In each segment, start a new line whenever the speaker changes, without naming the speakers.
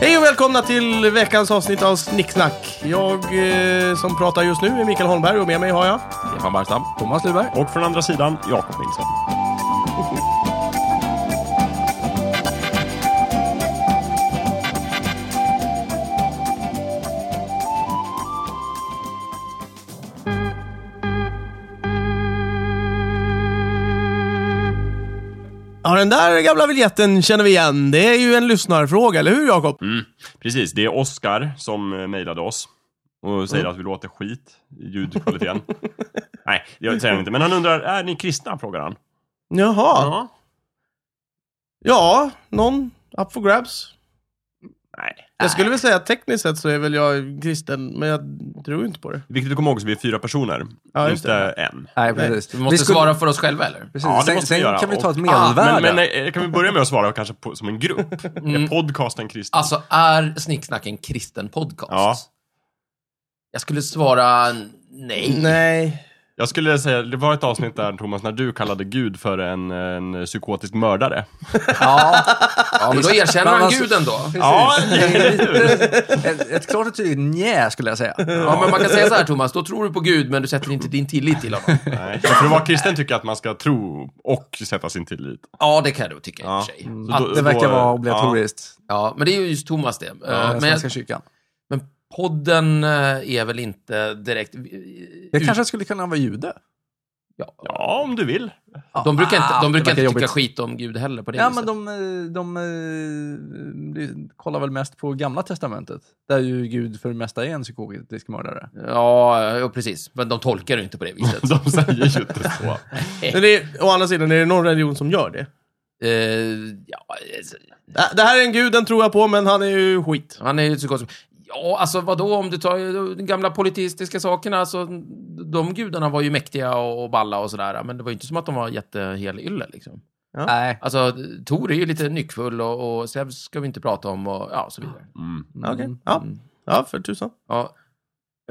Hej och välkomna till veckans avsnitt av Snicksnack. Jag eh, som pratar just nu är Mikael Holmberg och med mig har jag
Stefan Barstam.
Thomas Luberg.
Och från andra sidan, Jakob Nilsson.
Ja, den där gamla vignetten känner vi igen. Det är ju en lyssnarfråga, eller hur Jakob?
Mm.
Precis, det är Oskar som eh, mejlade oss och säger att vi låter skit i ljudkvaliteten. Nej, det säger han inte. Men han undrar, är ni kristna? Frågar han.
Jaha. Ja, någon up for grabs.
Nej.
Jag skulle väl säga att tekniskt sett så är väl jag kristen, men jag tror inte på det.
Viktigt att komma ihåg så vi är fyra personer,
Ja, just
inte en.
Nej, precis. Vi måste
Vi skulle-
svara för oss själva, eller?
Precis.
Ja, det
sen
måste vi göra.
sen kan vi ta ett
Och-
medelvärde.
Men, men eh, kan vi börja med att svara kanske på, som en grupp? Är podcasten kristen?
Alltså, är Snicksnack en kristen podcast?
Ja.
Jag skulle svara nej.
Nej.
Jag skulle säga, det var ett avsnitt där Thomas, när du kallade Gud för en, en psykotisk mördare.
ja. ja,
Men då erkänner
men
han
alltså-
gud ändå.
Ja,
ett, ett klart och tydligt nja, skulle jag säga.
Ja, men man kan säga så här, Thomas. Då tror du på Gud, men du sätter inte din tillit till honom.
Nej. För att vara kristen tycker jag att man ska tro och sätta sin tillit.
Ja, det kan jag nog tycka i
Ja.
och för sig.
Så då-
Att det verkar
då-
vara obligatoriskt.
Ja, men det är ju just Thomas det.
Ja.
men, jag,
Svenska kyrkan.
men podden eh, är väl inte direkt...
Jag kanske skulle kunna vara jude.
Ja, ja om du vill.
De brukar inte,
Ah, det
de brukar
verkar
inte tycka
jobbigt.
skit om Gud heller på det
Ja,
viset.
men de, eh, de, eh, de kollar väl mest på gamla testamentet. Där ju Gud för det mesta är en psykotisk mördare.
Ja, ja, precis. Men de tolkar det inte på det viset.
De säger ju inte så.
Men det är, å andra sidan, är det någon religion som gör det?
Eh, ja, alltså,
Äh, Det här är en gud, den tror jag på, men han är ju skit.
han är ju så gott som... Ja, alltså vadå, om du tar eh, de gamla politistiska sakerna, alltså, de gudarna var ju mäktiga och, och balla och sådär, men det var ju inte som att de var jättehelylle liksom.
Nej.
Alltså, Tor är ju lite nyckfull och, och Zeus ska vi inte prata om och ja, så vidare.
Mm.
Ja, Okej. Ja. ja, för tusan.
Ja.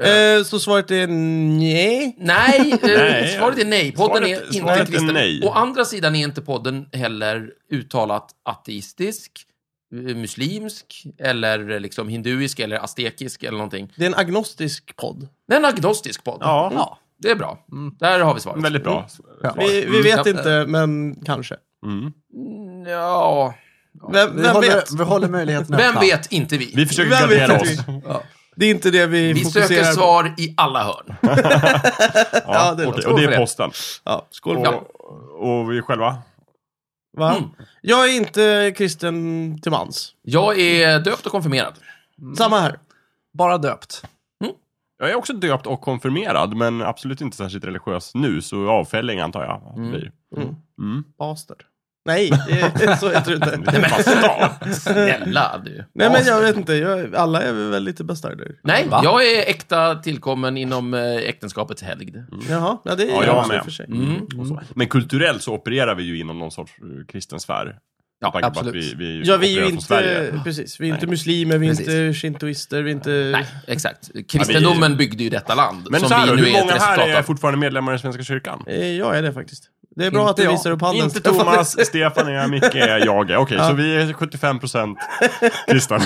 Eh, så svaret är nej.
Nej, eh,
Nej, ja.
svaret är nej. Podden
Svaret-
är
svaret
inte
är
kristen.
nej.
Å andra sidan är inte podden heller uttalat ateistisk, eh, muslimsk, eller liksom hinduisk, eller aztekisk eller någonting.
Det är en agnostisk podd.
Det är en agnostisk podd.
Ja,
Ja.
Det är bra.
Mm.
Där har vi svaret.
väldigt bra.
Ja.
svar.
Vi, vi vet
Ja.
inte, men kanske.
Mm.
Mm, Ja...
Vem,
Vi,
vem
håller,
vet?
vi håller möjligheten
Vem vet? Inte vi.
Vi försöker
Vem vet
gardera
inte
oss.
Det är inte det vi,
Vi söker
fokuserar på.
svar i alla hörn.
Ja,
Ja,
det-
okej,
skål
Och det
för det.
är posten.
Ja, skål för det.
Och, och vi själva.
Va?
Mm.
Jag är inte kristen till mans.
Jag är döpt och konfirmerad.
Samma här.
Bara döpt.
Jag är också döpt och konfirmerad, men absolut inte särskilt religiös nu, så avfälling antar jag att det blir.
Mm.
Mm.
Pastor. Nej, det är, så heter det inte.
Det är bastar.
Snälla du.
Nej, men jag vet inte. Jag, alla är väl lite bastarder.
Nej,
Va?
jag är äkta tillkommen inom eh, äktenskapets helgd.
Mm.
Jaha, ja, det är
Ja, jag
jag
med.
i och för sig.
Mm.
Och så. Men kulturellt så opererar vi ju inom någon sorts eh, kristen sfär.
Ja,
Med tanke på att
absolut.
Vi, vi
Ja, vi är
opererar
ju
från Sverige.
inte, precis, vi är
Nej.
inte muslimer, vi är
Precis.
inte shintoister, vi är inte...
Nej, exakt. Kristendomen byggde ju detta land.
Men
som
så här,
vi
då,
nu
hur
är ett
många här är
resultat av.
fortfarande medlemmar i Svenska kyrkan?
Eh, Jag är det faktiskt. Det är bra
Inte
att du
jag.
visar upp handen.
Inte
Stefan.
Thomas, Stefan är Micke är jag. är. Okej, så vi är 75% kristna.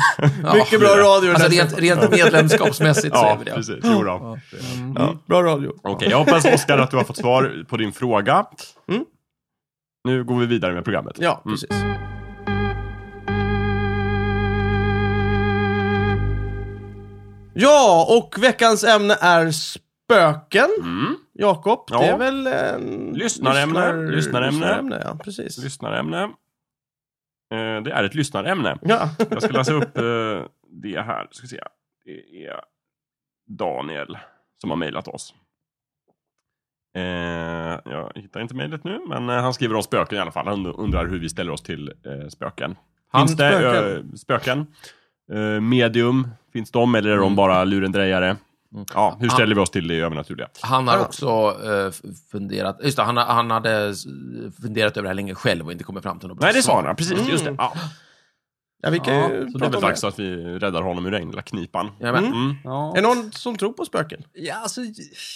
Ja.
Mycket bra radio. det där,
Alltså rent,
Stefan.
rent medlemskapsmässigt så är
ja,
vi det.
precis. Jo då. Mm,
Ja, bra radio.
Okej, jag hoppas Oskar att du har fått svar på din fråga.
Mm.
Nu går vi vidare med programmet.
Ja, precis.
Mm.
Ja, och veckans ämne är spöken.
Mm.
Jakob, det
Ja.
är väl en...
Lyssnarämne,
lyssnar-
lyssnarämne.
lyssnarämne. Ja, precis.
Lyssnarämne. Eh, det är ett lyssnarämne.
Ja.
Jag ska läsa upp eh, det här. Ska se. Det är Daniel som har mejlat oss. Eh, jag hittar inte mejlet nu, men eh, han skriver om spöken i alla fall. Han undrar hur vi ställer oss till eh, spöken.
Han-
Finns det
spöken.
spöken? spöken? Eh, medium, finns de eller är de bara lurendrejare? Ja, hur ställer vi oss till det övernaturliga?
Han har
Ja.
också eh, f- funderat, just det, han, har- han hade s- funderat över det här länge själv och inte kommit fram till något bra
Nej, det
svar.
svarar han. Precis, just det. Mm. Ja.
Ja, vi kan
Ja,
ju
Så det är
prata
väl
om det.
dags att vi räddar honom ur änglaknipan.
Ja, men,
Mm.
Mm.
Ja.
Är det någon som tror på spöken?
Ja, alltså,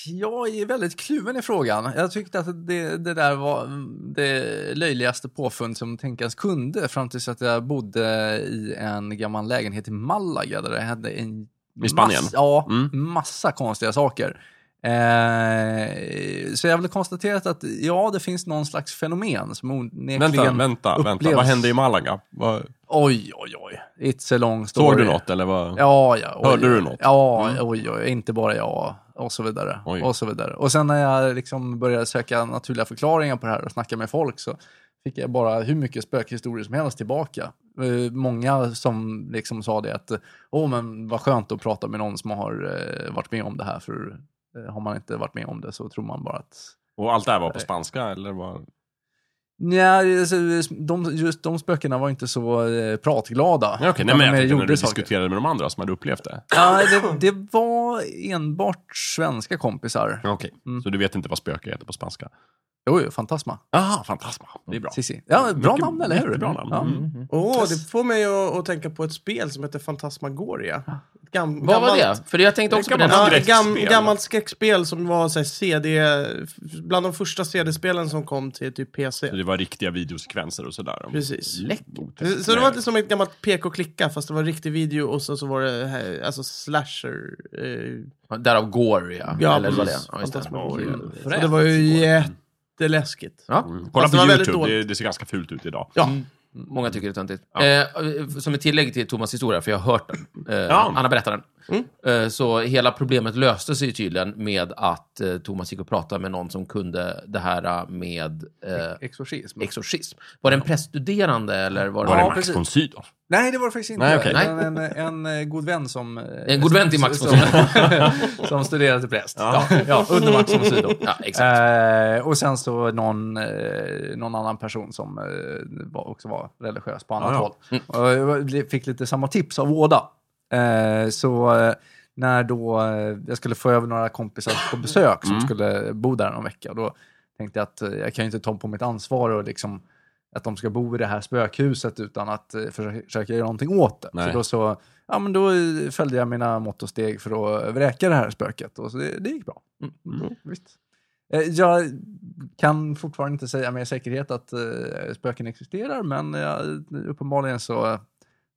jag är väldigt kluven i frågan. Jag tyckte att det, det där var mm, det löjligaste påfund som tänkas kunde fram tills att jag bodde i en gammal lägenhet i Malaga där det hände en
I Spanien?
Massa, ja,
Mm.
massa konstiga saker. Eh, så jag har väl konstaterat att ja, det finns någon slags fenomen som onekligen...
Vänta, vänta, vänta.
upplevs-
Vad hände i Malaga? Vad-
Oj, oj, oj. It's a long story.
Såg du något eller? Vad?
Ja, ja. Oj,
Hörde du något? Mm.
Ja, oj, oj, inte bara jag och så vidare.
Oj.
Och så vidare. Och sen när jag liksom började söka naturliga förklaringar på det här och snacka med folk så fick jag bara hur mycket spökhistorier som helst tillbaka. Eh, Många som liksom sa det att, åh men vad skönt att prata med någon som har eh, varit med om det här för eh, har man inte varit med om det så tror man bara att
Och allt det här var på spanska eller? Var...
Nej, alltså, de, just de spökena var inte så eh, pratglada.
Ja, okej, nej,
Utan
men jag
de
tänkte när
gjorde
du
saker.
diskuterade med de andra som hade upplevt det.
Ja, det, det var enbart svenska kompisar.
Okej, så du vet inte vad spöke heter på spanska?
Jo, jo, Fantasma.
Ah, fantasma. Det är bra.
Sissi. Ja, bra
Mycket-
namn, eller hur?
jättebra namn.
Ja.
Mm.
Åh, det får mig att, att tänka på ett spel som heter Fantasmagoria. Ett Gam,
Ah. vad var det? För jag tänkte
Det
också på
kan
det.
man-
Ja,
Ja,
ett gam,
Skräckspel.
gammalt skräckspel som var så här, CD, bland de första CD-spelen som kom till typ PC.
Så det var riktiga videosekvenser och sådär.
Precis.
Läckert.
Så- Så det var inte alltså, som ett gammalt pek och klicka fast det var riktig video och sen så var det här, alltså slasher. Eh,
Därav Gore, ja.
ja,
Eller vad det
precis.
Ja, just det. Mm.
Fantasmagoria.
Ja,
Och det var ju jätteläskigt.
Ja.
Mm. Kolla
Fast
på
det var väldigt
YouTube, det,
dåligt.
det ser ganska fult ut idag.
Ja.
Många tycker det är töntigt.
Ja.
Eh, som ett tillägg till Thomas historia, för jag har hört den. Eh,
Ja.
Anna berättar den.
Mm.
Eh, så hela problemet löste sig ju tydligen med att eh, Thomas gick och pratade med någon som kunde det här eh, med eh,
Exorcism.
exorcism. Var det en präststuderande eller var det...
Var det
Ja,
Max
precis.
von Sydow?
Nej, det var det faktiskt inte.
Nej, okej.
Men En, en, eh, god vän som... eh,
En god vän till Max
som,
von
som, som studerade till präst. Ja. Ja, under Max von Sydow.
Ja, exakt.
Eh, och sen så någon, eh, någon annan person som eh, var, också var religiös på annat
Ja, ja.
håll. Och jag li- fick lite samma tips av båda. Eh, så eh, när då eh, jag skulle få över några kompisar på besök som
Mm.
skulle bo där någon vecka, då tänkte jag att eh, jag kan ju inte ta på mitt ansvar och liksom att de ska bo i det här spökhuset utan att eh, försöka, försöka göra någonting åt det.
Nej.
Så då så, ja men då eh, följde jag mina mått och steg för att vräka det här spöket och så det, det gick bra. Mm, visst. Eh, Jag kan fortfarande inte säga med säkerhet att eh, spöken existerar, men eh, uppenbarligen så,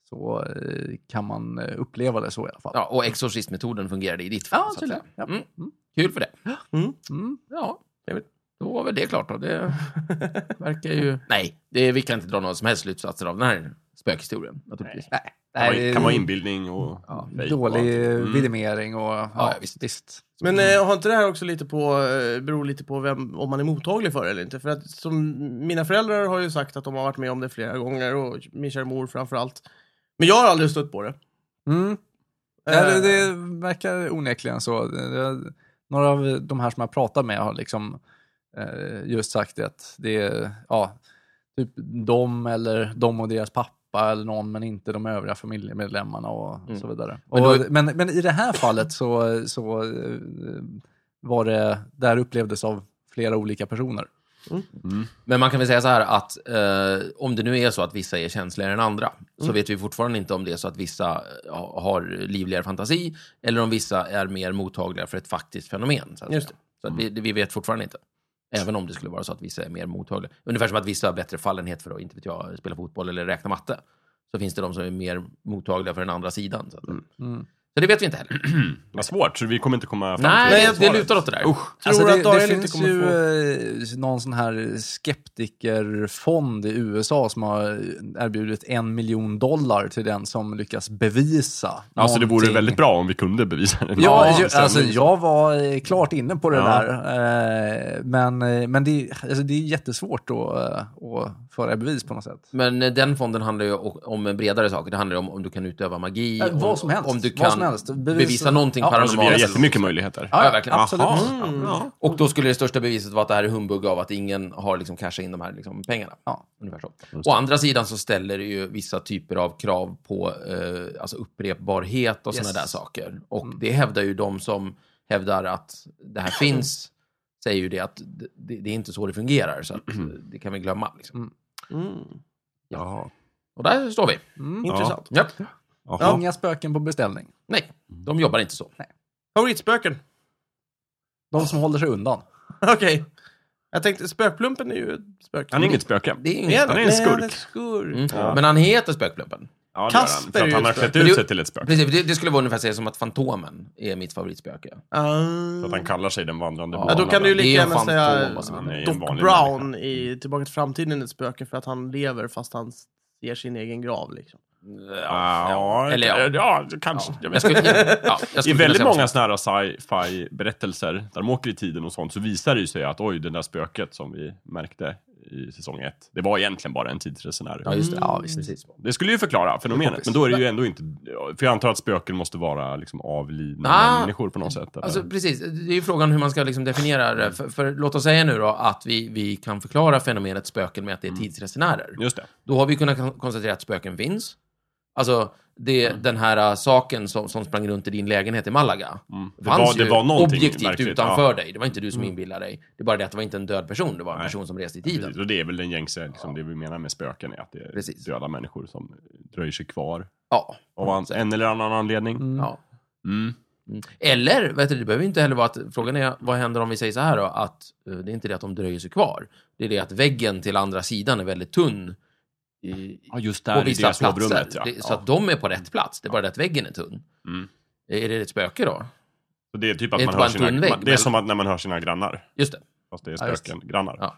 så eh, kan man eh, uppleva det så i alla fall.
Ja, och exorcismmetoden fungerade i ditt fall.
ja
så att
tydligen.
säga.
Ja.
Mm.
Mm.
Kul för det.
Mm.
Ja,
Det är väl-
då var väl det klart då. Det verkar ju... Nej, det, vi kan inte dra några som helst slutsatser av den här spökhistorien. Naturligtvis.
Nej, det
Kan
här
vara-
är
kan vara inbildning och...
ja,
fejk och
dålig
allt. Mm.
vidimering och ja,
ja, visst.
visst.
Men eh, har inte det här också lite på, eh, beror lite på vem, om man är mottaglig för det eller inte? För att som mina föräldrar har ju sagt att de har varit med om det flera gånger och min kära mor framförallt. Men jag har aldrig stött på det.
Mm. Ja, det,
Eh,
det verkar onekligen så. Det- det- Några av de här som jag pratat med har liksom eh, just sagt det att det är ja, typ de eller de och deras pappa eller någon men inte de övriga familjemedlemmarna och
Mm.
så vidare.
Men
Men,
då-
och, men, men i det här fallet så, så eh, var det, där upplevdes av flera olika personer.
Men man kan väl säga så här att eh, om det nu är så att vissa är känsligare än andra
Mm.
så vet vi fortfarande inte om det är så att vissa eh, ha- har livligare fantasi eller om vissa är mer mottagliga för ett faktiskt fenomen. Så, att
Just Mm.
säga. så att vi, det- vi vet fortfarande inte. Även om det skulle vara så att vissa är mer mottagliga. Ungefär som att vissa har bättre fallenhet för att inte vet jag, spela fotboll eller räkna matte. Så finns det de som är mer mottagliga för den andra sidan. Så, att,
Mm.
så det vet vi inte heller.
Vad svårt, så vi kommer inte komma fram
Nej,
till
det är
det,
svaret.
lutar åt det där.
Tror du att
Alltså, det,
Daniel
det
inte
finns
kommer
ju eh, någon sån här skeptikerfond i USA som har erbjudit en miljon dollar till den som lyckas bevisa
Alltså det vore
någonting.
väldigt bra om vi kunde bevisa det.
Ja, ju,
sen-
alltså jag var eh, klart inne på det
Ja.
där. eh, Men, eh, men det, alltså, det är jättesvårt att, eh, att föra i bevis på något sätt.
Men eh, den fonden handlar ju o- om en bredare saker. Det handlar ju om om du kan utöva magi.
Ja, vad
om-
som helst.
Om du
Vad
kan
som helst.
bevisa,
Bevisa-
någonting
Ja,
Alltså, vi har
paranormalt.
jättemycket möjligheter.
Ja, ja, verkligen.
Absolut.
Jaha.
Mm.
Ja.
Och då skulle det största beviset vara att det här är humbug av att ingen har liksom cashat in de här liksom pengarna.
Ja.
Ungefär så. Å andra sidan så ställer det ju vissa typer av krav på eh, alltså upprepbarhet och
Yes. Mm.
sådana där saker. Och det hävdar ju de som hävdar att det här finns, säger ju det att det, det är inte så det fungerar. Så att, eh, det kan vi glömma. Liksom.
Mm.
Ja. Och där står vi.
Mm.
Intressant.
Ja.
Jaha.
Inga spöken på beställning.
Nej, de jobbar inte så.
Favoritspöken?
De som håller sig undan.
Okej. Jag tänkte, spökplumpen är ju ett spöke.
Han är inget spöke.
Det är ju
Nej,
inget
han är
han
en
är
skurk.
en skurk.
Mm.
Ja.
Men han heter Spökplumpen.
Ja, det är han.
Kasper
För
är
att han
ju
har
ett
klätt
spöke.
ut
Men
sig
det-
till ett spöke.
Precis, det, det skulle vara ungefär säga som att Fantomen är mitt favoritspöke.
Ah.
Så att han kallar sig den vandrande
Ja,
Ja, då
banan.
kan du ju lika
Det är en
gärna säga
fantom och så
Han är ju en
Doc
vanlig Mm.
Brown i Tillbaka till framtiden är ett spöke för att han lever fast han ser sin egen grav. Liksom.
Ja, ja,
Eller ja.
ja, kanske.
Ja.
Jag
Jag
vet.
skulle, ja, jag
I
skulle
väldigt
kunna säga
många sådana här sci-fi berättelser, där de åker i tiden och sånt, så visar det ju sig att oj, det där spöket som vi märkte i säsong ett, det var egentligen bara en tidsresenär.
Ja, just det. Ja, visst.
Precis.
Det skulle ju förklara fenomenet, men då är det ju ändå inte... För jag antar att spöken måste vara liksom avlidna
Ah,
människor på något sätt. Eller?
Alltså, precis. Det är ju frågan hur man ska liksom definiera det. För, för låt oss säga nu då att vi, vi kan förklara fenomenet spöken med att det är tidsresenärer.
Just det.
Då har vi kunnat kon- konstatera att spöken finns. Alltså, det,
Mm.
den här äh, saken som, som sprang runt i din lägenhet i Malaga.
Mm. Det,
fanns
var, det
ju
var någonting
objektivt
märkligt. Mm.
utanför dig. Det var inte du som inbillade dig. Det är bara det att det var inte en död person, det var en
Nej.
person som reste i
Ja,
tiden.
precis. och det är väl den gängse, liksom, det vi menar med spöken är att det är
Precis.
döda människor som dröjer sig kvar
Ja.
av hans- en eller annan anledning.
Mm.
ja.
Mm.
Eller, vet du, det behöver inte heller vara att... Frågan är, vad händer om vi säger så här då? Att eh, det är inte det att de dröjer sig kvar. Det är det att väggen till andra sidan är väldigt tunn. I,
Ja, just
på
där i
vissa
Mm. det
platser.
sovrummet. Ja.
Det, så
ja.
att de är på rätt plats. Det är bara det att väggen är tunn.
Mm.
Är det ett spöke då?
Så det är typ att
det är
man
inte
hör
bara en
sina...
tunn vägg,
man- Det är
men-
som att när man hör sina grannar.
Just det.
Fast det är
Ja, just det.
spöken, grannar.
Ja.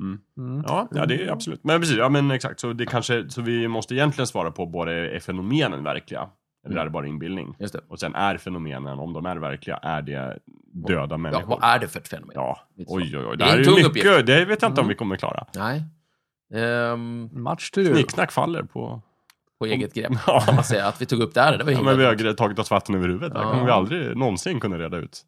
Mm.
Mm.
Ja, ja, det är absolut. Men precis, ja men exakt. Så, det kanske, så vi måste egentligen svara på både är fenomenen verkliga, eller är det bara inbildning?
Just det.
Och sen är fenomenen, om de är verkliga, är det döda
Ja,
människor?
vad är det för ett fenomen?
Ja,
Lite så.
oj oj oj.
Det
Det
är
här
en
är
tung
ju mycket,
uppgift. Mm.
det vet jag inte om vi kommer klara.
Nej. Ehm,
Match till du.
Snicksnack faller på...
på eget grepp,
Ja.
kan man säga. Att vi tog upp det här, det var ju
Ja, men vi
helt-
har tagit oss vatten över huvudet. Det här
Ja.
kommer vi aldrig någonsin kunna reda ut.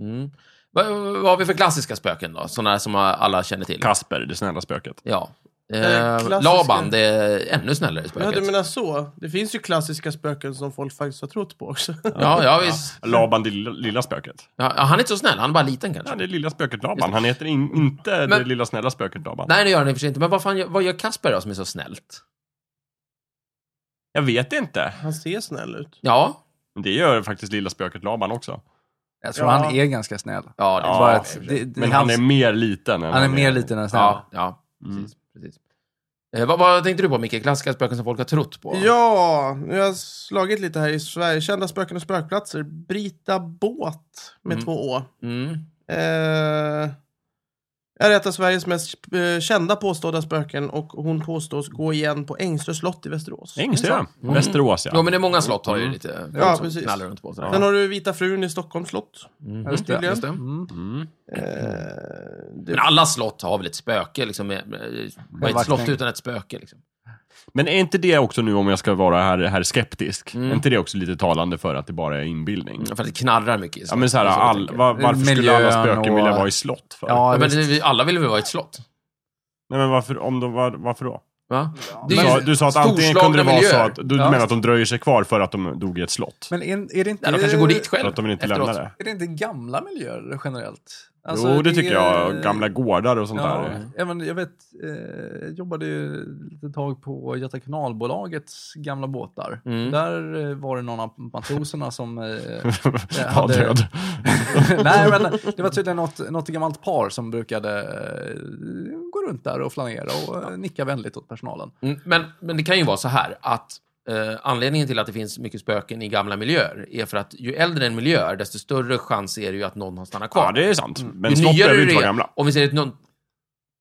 Mm. Vad, vad har vi för klassiska spöken då? Sådana som alla känner till.
Kasper, det snälla spöket.
Ja.
Eh,
Eh,
klassiska-
Laban, det är ännu snällare
Ja,
spöket.
du menar så? Det finns ju klassiska spöken som folk faktiskt har trott på också.
Ja, ja, visst.
Laban, det lilla, lilla spöket.
Ja, han är inte så snäll, han är bara liten
Ja,
kanske.
det är lilla spöket Laban. Han heter in, inte det
Men-
lilla snälla spöket Laban.
Nej, det gör han i och för sig inte. Men vad, fan, gör- vad gör Kasper då som är så snällt?
Jag vet inte.
Han ser snäll ut.
Ja,
Men Det gör faktiskt lilla spöket Laban också.
Jag tror
Ja.
han är ganska snäll.
ja det
Ja,
Bara
är
att det, det,
Men han
hans,
är mer liten. Än
han är mer liten än snäll.
Ja, ja
Mm.
precis. precis. Eh, vad, vad tänkte du på, Micke? Klassiska spöken som folk har trott på?
Ja, nu har jag slagit lite här i Sverige. Kända spöken och spökplatser. Brita Båt med
Mm.
två Å.
Mm.
Eh, är ett av Sveriges mest eh, kända påstådda spöken och hon påstås gå igen på Ängstö slott i Västerås.
Ängsö.
Mm.
Västerås,
Jo, men
ja.
det är många slott har ju
Mm.
lite folk
Ja,
som
precis.
knallar runt på. Sådär.
Sen har du Vita frun i Stockholms slott.
Mhm,
Just det.
Just det.
Mm.
Mm.
Eh, det,
Men alla slott har väl ett spöke? Liksom, eh, vad är ett slott utan ett spöke? Liksom?
Men är inte det också nu, om jag ska vara här, här skeptisk,
Mm.
är inte det också lite talande för att det bara är inbildning?
För att det knarrar mycket i
Ja,
slott.
men så här,
Det är så jag
all,
tänker.
va- varför skulle alla
Miljön
spöken
och-
vilja vara i slott för?
Ja,
Ja, men
visst.
vi- alla vill väl vara i ett slott?
Nej, men varför, om de, var, varför då?
Va?
Du
Det är
sa,
ju
du sa att antingen
storslagna
kunde det vara så
miljöer.
att du, du
Ja.
menar att de dröjer sig kvar för att de dog i ett slott.
Men är, är det inte...
Ja, de kanske går dit
För
själv
att de vill inte
efteråt. Alltså,
lämna det.
Är det inte gamla miljöer generellt? Alltså,
jo, det,
är-
tycker jag. Gamla gårdar och sånt
Ja,
där.
även, jag vet, eh, jag jobbade ju ett tag på Göta kanalbolagets gamla båtar.
Mm.
Där eh, var det någon av matroserna som... Eh,
Var
hade-
död.
nej, men det var tydligen något, något gammalt par som brukade eh, gå runt där och flanera och eh, nicka vänligt åt personalen.
Mm, Men, men det kan ju vara så här att eh, anledningen till att det finns mycket spöken i gamla miljöer är för att ju äldre en miljö är, desto större chans är det ju att någon har stannat kvar.
Ja, det är sant. Men
ju
slott
nyare
behöver ju
Mm. det
inte vara
är-
gamla.
Om vi säger att någon...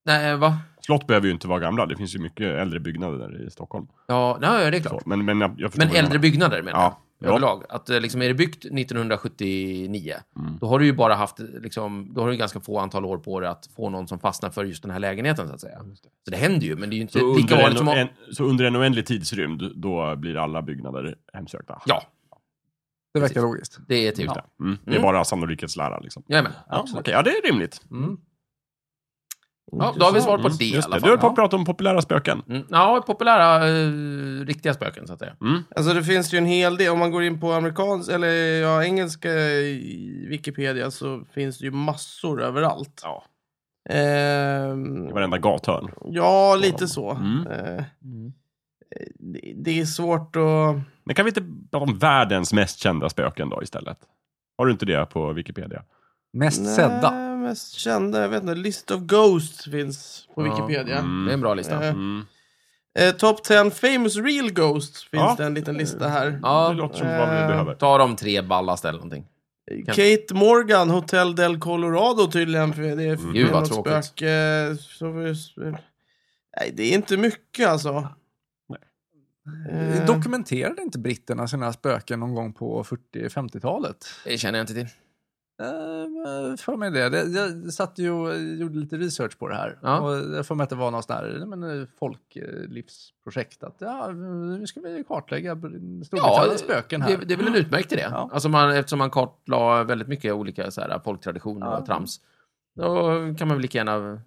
Nej, va?
Slott behöver ju inte vara gamla. Det finns ju mycket äldre byggnader där i Stockholm.
Ja, nej, det är klart.
Så, men, men, jag, jag förstår
Men
vad du
äldre
menar.
byggnader menar
Ja.
jag. Överlag. Att eh, liksom, är det byggt 1979,
Mm.
då har du ju bara haft, eh, liksom, då har du ganska få antal år på dig att få någon som fastnar för just den här lägenheten så att säga. Så det händer ju, men det är ju inte
Så
lika
under,
vanligt som...
en, en, så under en oändlig tidsrymd, då blir alla byggnader hemsökta?
Ja,
Det verkar
Precis.
logiskt.
det är typ
Ja.
det.
Mm. Det är
Mm.
bara sannolikhetslära liksom.
Jajamän.
Ja, okej. ja, det är rimligt.
Mm.
Ja, då har vi svar på
Mm,
det i
Just
alla
det.
fall.
Du höll på
Ja.
att prata om populära spöken.
Mm, ja, populära, eh, riktiga spöken så att säga.
Alltså det finns ju en hel del, om man går in på amerikansk, eller ja, engelska i Wikipedia så finns det ju massor överallt.
Ja.
Ehm,
I varenda gathörn.
ja, lite så.
Mm.
Eh, det- det är svårt att...
Men kan vi inte prata om världens mest kända spöken då istället? Har du inte det på Wikipedia?
Mest sedda.
Nej, mest kända, jag vet inte. List of Ghosts finns på
Ja,
Wikipedia.
mm.
Det är en bra lista.
Eh,
Mm.
Eh, Top 10 famous real ghosts finns
Ja.
det en liten lista här.
Det
Ja,
låter som vad vi
Eh,
behöver.
ta de tre ballaste eller någonting. kan-
Kate Morgan, Hotel del Colorado tydligen. För det är
Gud,
mm.
vad
något
tråkigt.
spöke. Så vi- Nej, det är inte mycket alltså. Eh,
Dokumenterade inte britterna sina spöken någon gång på 40-50-talet?
Det känner jag inte till.
Eh, för mig det. Det- Jag satt ju och gjorde lite research på det här.
Ja.
Och jag får mig att det var något sånt här men, eh, folklivsprojekt. Att, ja, nu ska vi kartlägga Br- Storbritanniens spöken här.
Det, det är väl en utmärkt idé.
Ja.
Alltså man, eftersom man kartlade väldigt mycket olika så här, folktraditioner
Ja.
och trams. Då kan man väl lika gärna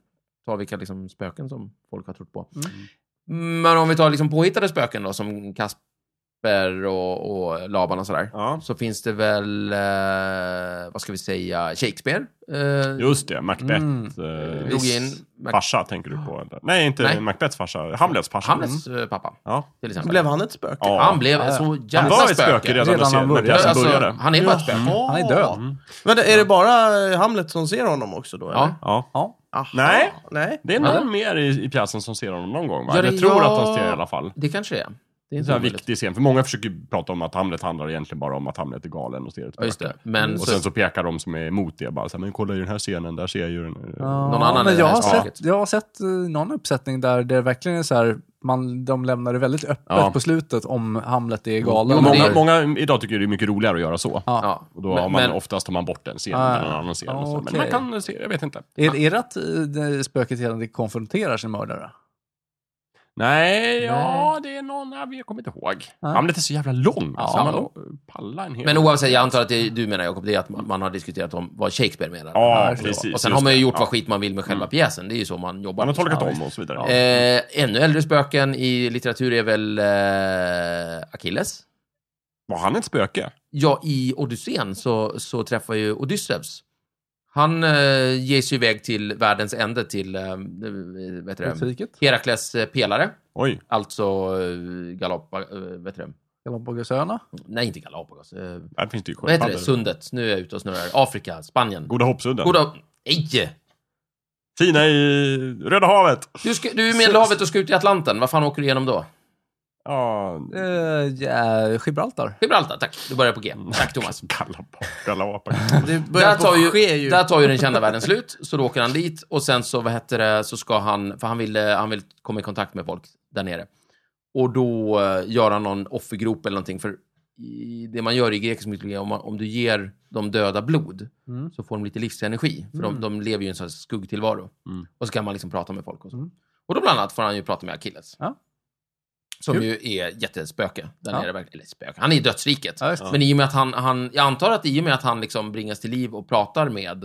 ta vilka liksom, spöken som folk har trott på. Men om vi tar liksom, påhittade spöken då, som Kasper och, och Laban och sådär.
Ja.
Så finns det väl, eh, vad ska vi säga, Shakespeare? Eh,
Just det, Macbeth.
Mm.
eh,
drog in Mac-
farsa tänker du på? eller? Nej, inte
Nej.
Macbeths farsa. Hamlets farsa. Mm.
Hamlets eh, pappa,
Ja.
till
så
exempel.
blev han ett spöke?
Ja.
Han blev
Ja, ja.
så
Han
jävla
var ett spöke redan,
Redan
när
han
serien- när
började.
pjäsen
Alltså,
började.
han är bara ett spöke.
Han är död.
Mm.
Vänta, är det bara eh, Hamlet som ser honom också då?
Ja.
Eller?
Ja.
Ja.
Aha.
Nej.
Nej.
Det är
Ja.
någon mer i, i pjäsen som ser honom någon gång, va?
Ja, det
jag tror
jag-
att han ser det i alla fall.
Det kanske det är. Det är
En
inte
sån här
omöjligt.
viktig scen, för många försöker ju prata om att Hamlet handlar egentligen bara om att Hamlet är galen och ser ett
Ja, just
spöke.
det. Men
Och
så-
sen så pekar de som är emot det bara så här, men kolla i den här scenen, där ser jag ju den.
Någon
annan
men jag,
i det här
har
spöket.
sett, jag har sett eh, någon uppsättning där det verkligen är så här, man, de lämnar det väldigt öppet
Ja.
på slutet om Hamlet är galen.
Jo, men
Många,
det-
många idag tycker det är mycket roligare att göra så.
Ja.
Ja.
Och då har
Men-
man
men-
oftast tar man bort den scenen
Ah,
eller någon annan scen. och så. Men
okej.
man kan se, jag vet inte.
Är, är det att eh, det spöket hela tiden konfronterar sin mördare?
Nej, ja, det är någon, nej, vi- jag kommer inte ihåg.
Ja.
Hamlet är så jävla lång. alltså,
Ah. Ja.
man o- pallar en hel
Men oavsett, jag antar att det du menar Jakob, det är att man man har diskuterat om vad Shakespeare menar.
Ja,
Ja,
precis.
och sen
just
har man ju
det.
gjort vad
Ja. Mm.
skit man vill med själva pjäsen. Det är ju så man jobbar.
Man har tolkat
Ja,
om och så vidare.
Eh, ännu äldre spöken i litteratur är väl eh, Achilles.
Var han ett spöke?
Ja, i Odysseen så, så träffar ju Odysseus. Han eh, ges ju iväg till världens ände, till eh, vad heter det?
Kriket?
Herakles eh, pelare,
Oj.
alltså eh, Galapa, eh, vet du det?
Galapagosöarna?
Nej, inte Galapagos. Eh,
Där finns det ju
vad heter det?
sköldpaddor.
Sundet. Nu är jag ute och snurrar. Afrika, Spanien.
Goda hoppsudden.
Goda... Nej!
Fina i Röda havet.
Du, ska, du är i Medelhavet och ska ut i Atlanten. Vad fan åker du igenom då?
Ja,
Eh, ja, Gibraltar.
Gibraltar, tack. Du börjar på G. Tack, Thomas.
Galapa- Galapagos.
Det
Där
börjar
tar,
på ske
ju,
ju.
där tar ju den kända världen slut, så då åker han dit och sen så, vad heter det, så ska han, för han vill, eh, han vill komma i kontakt med folk där nere. Och då eh, gör han någon offergrop eller någonting, för i, det man gör i grekisk mytologi, om, man, om du ger de döda blod,
Mm.
så får de lite livsenergi, för de, de lever ju i en sån här skuggtillvaro.
Mm.
Och så kan man liksom prata med folk och så.
Mm.
Och då bland annat får han ju prata med Achilles.
Ja.
Som
Kul.
ju är jättespöke där
Ja.
nere. verkligen. Eller spöke, han är i dödsriket.
Ja, just det.
Men i och med att han, han, jag antar att i och med att han liksom bringas till liv och pratar med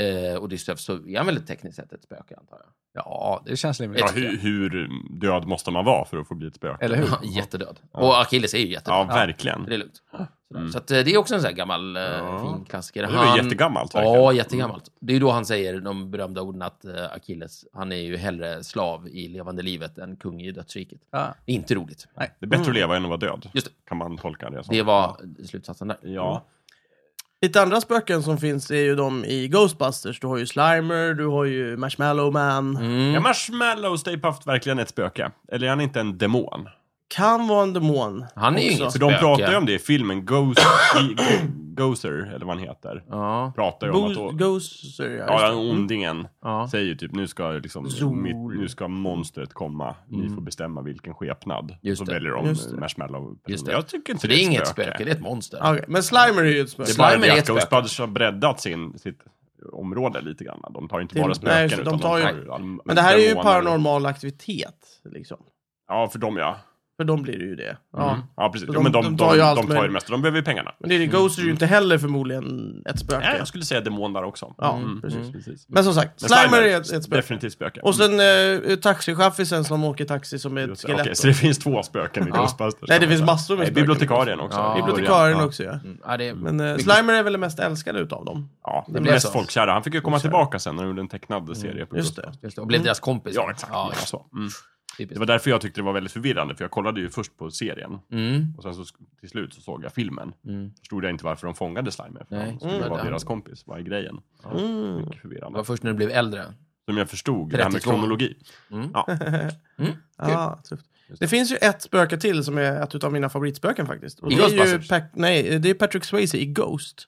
eh, Odysseus så är han väl tekniskt sett ett spöke, antar jag.
Ja, det känns rimligt.
Ja, hur, hur död måste man vara för att få bli ett spöke?
Eller hur?
Jättedöd.
Ja.
Och Achilles är ju jättedöd.
Ja, verkligen.
Det är lugnt. Sådär.
Mm.
Så att, eh, det är också en sån här gammal eh,
Ja.
fin klassiker.
Det var ju jättegammalt. verkligen. Mm.
Ja, jättegammalt. Det är ju då han säger de berömda orden att eh, Achilles, han är ju hellre slav i levande livet än kung i dödsriket.
Ja.
Det är inte roligt.
Det är bättre att leva än att vara död.
Mm. Just det.
Kan man tolka det som.
Det var slutsatsen där.
Ja.
Lite andra spöken som finns är ju de i Ghostbusters. Du har ju Slimer, du har ju Marshmallow Man.
Mm.
Är Marshmallow Stay Puft verkligen ett spöke? Eller är han inte en demon?
Kan vara en demon.
Han är ju
Också.
inget
För
spöke.
de pratar ju om det i filmen Ghost, i, Go- Gozer, eller vad han heter.
Ja,
Pratar ju om att...
Bo-
Då,
Ghoster, ja. just
ja,
det.
ondingen
ja.
säger ju typ nu ska, liksom,
Zol.
mitt, nu ska monstret komma. Ni får bestämma vilken skepnad.
Mm. Just
så
det.
väljer de
Just det.
Marshmallow.
Just det.
Jag tycker inte
Så det är inget spöke, det är ett monster.
Okej, Men Slimer är ju ett spöke.
Det är bara
Slimer är
det
ett
att
spöke.
Ghostbusters har breddat sin, sitt område lite grann. De tar ju inte
Till-
bara spöken
nej, så de
utan
tar ju-
all-
Men det här är ju
demoner.
paranormal aktivitet. Liksom.
Ja, för dem ja.
För de blir det ju det. Ja.
Mm. Ja, precis.
Så
ja, men de, de, de tar ju
allt
de tar ju det
möjligt.
mesta. De behöver ju pengarna.
Men det är det, Ghost är ju inte heller förmodligen ett spöke.
Nej, jag skulle säga demon där också.
Ja,
Mm,
precis.
mm, precis.
Men som sagt,
Men
Slimer är ett, ett spöke.
Definitivt spöke.
Och sen eh, taxichaffisen som åker taxi som är
Mm.
ett
Okej,
skelett.
så det finns två spöken i
Ja.
Ghostbusters?
Nej, det finns massor med
Nej,
spöken.
bibliotekarien också.
Ja.
i början.
Bibliotekarien
Ja.
också, ja.
Mm. Ja, det är...
Men eh, Slimer är väl den mest älskade utav dem.
Ja, det
blev
blev mest
så.
folkkära. Han fick ju komma tillbaka sen när de gjorde en tecknad serie. På
Mm. Just det.
Just det, Och blev deras kompis.
Ja, exakt.
Ja,
Ja, så. Mm. Det var därför jag tyckte det var väldigt förvirrande, för jag kollade ju först på serien.
Mm.
Och sen så sk- till slut så såg jag filmen.
Mm.
Förstod jag inte varför de fångade Slimer. För
Nej.
han skulle
Mm.
vara
Mm.
deras kompis. Vad är grejen? Ja,
Mm.
Mycket
Det
förvirrande.
var först när du blev äldre.
Som jag förstod det här med
32.
kronologi.
Mm.
Ja.
Ja, tufft. Det finns ju ett spöke till som är ett av mina favoritspöken faktiskt. Och
I
det är ju
Ghostbusters?
Pac- nej, det är Patrick Swayze i Ghost.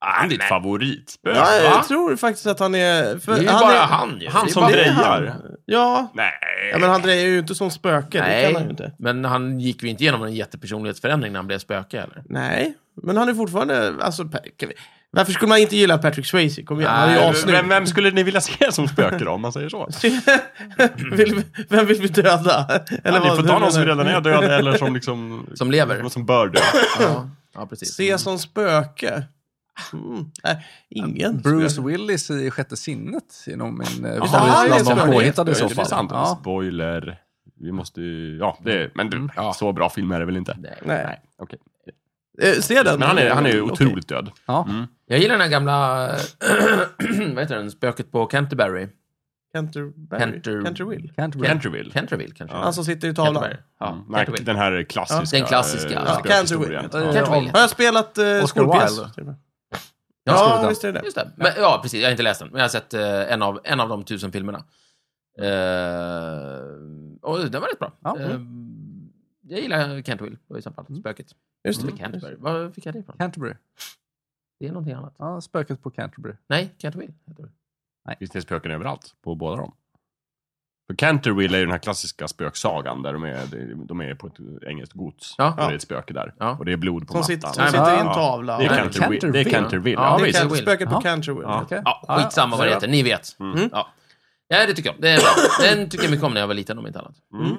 Ah, ditt favoritspöke.
Ja,
va?
jag tror faktiskt att han är... för
Det är ju
han
bara
är-
han ju.
Han
Det är
som
bara-
Det är han.
drejar.
Ja.
Nej.
ja, men han drejar ju inte som spöke. Nej. Det kan han ju inte.
Nej, men han gick ju inte igenom en jättepersonlighetsförändring när han blev spöke, eller?
Nej, men han är fortfarande... Alltså, Pa- kan vi- varför skulle man inte gilla Patrick Swayze? Kom igen, han är ju
Nej,
assnygg.
vem, vem skulle ni vilja se som spöke då, om man säger så?
vill, vi- vem vill vi döda?
Eller ja, ni
vad-
får ta
hur
någon som
menar du?
redan är död eller som liksom...
Som lever.
Som bör dö.
Ja, ja precis.
Se som spöke. Mm. Nej, ingen.
Bruce Willis i Sjätte sinnet är nog min eh,
Jaha, han är
favorit bland
spöke.
de påhittade i så
Det är
fall.
sant.
Ja.
Spoiler. Vi måste ju... Ja, det är, men du,
Ja.
så bra film är det väl inte?
Nej.
Nej.
Okej.
Eh, se den.
Men han är, han är ju
Okej.
otroligt död.
Ja.
Jag gillar den här gamla, vad heter den, spöket på Canterbury.
Canterbury.
Canter-
Canterwill.
Can't be-
Canterville.
Canterville kanske?
Han som sitter i tavlan.
Canterbury. Ja,
Mm. Nej,
Canterville.
den här klassiska...
Den klassiska.
eh,
Ja,
spökhistorien.
Canterbury.
Canterville.
Eh, om-
Har jag spelat eh,
Oscar
skolpjäs?
Wilde. Jag har
Ja,
skrivit
visst är det det.
Just det. Men, ja, precis. Jag har inte läst den, men jag har sett eh, en, av, en av de tusen filmerna. Eh, och den var rätt bra.
Ja.
mm.
Eh, jag gillar Canterville i så fall. Spöket.
Just det.
Eller Canterbury. Var fick jag det ifrån?
Canterbury.
Det är någonting annat.
Ja, spöket på Canterbury.
Nej, Canterville. heter det.
Visst är spöken överallt på båda dem? För Canterville är ju den här klassiska spöksagan där de är, de är på ett engelskt gods.
Ja.
Och det är ett spöke där.
Ja.
Och det är blod på
Som
mattan.
sitter, som
Nej, men-
sitter i en
Ja.
tavla.
Det är
Nej,
Canterville. Det
Canterville.
är Canterville.
Ja,
Ja,
det är
visst.
visst.
Can- Spöket på
Ja.
Canterwill.
Ja.
Okej.
Ja, skitsamma vad det heter. Ni vet.
Mm.
Ja. ja, det tycker jag om. Det är bra. Den tycker jag mycket om när jag var liten, om inte annat.
Mm.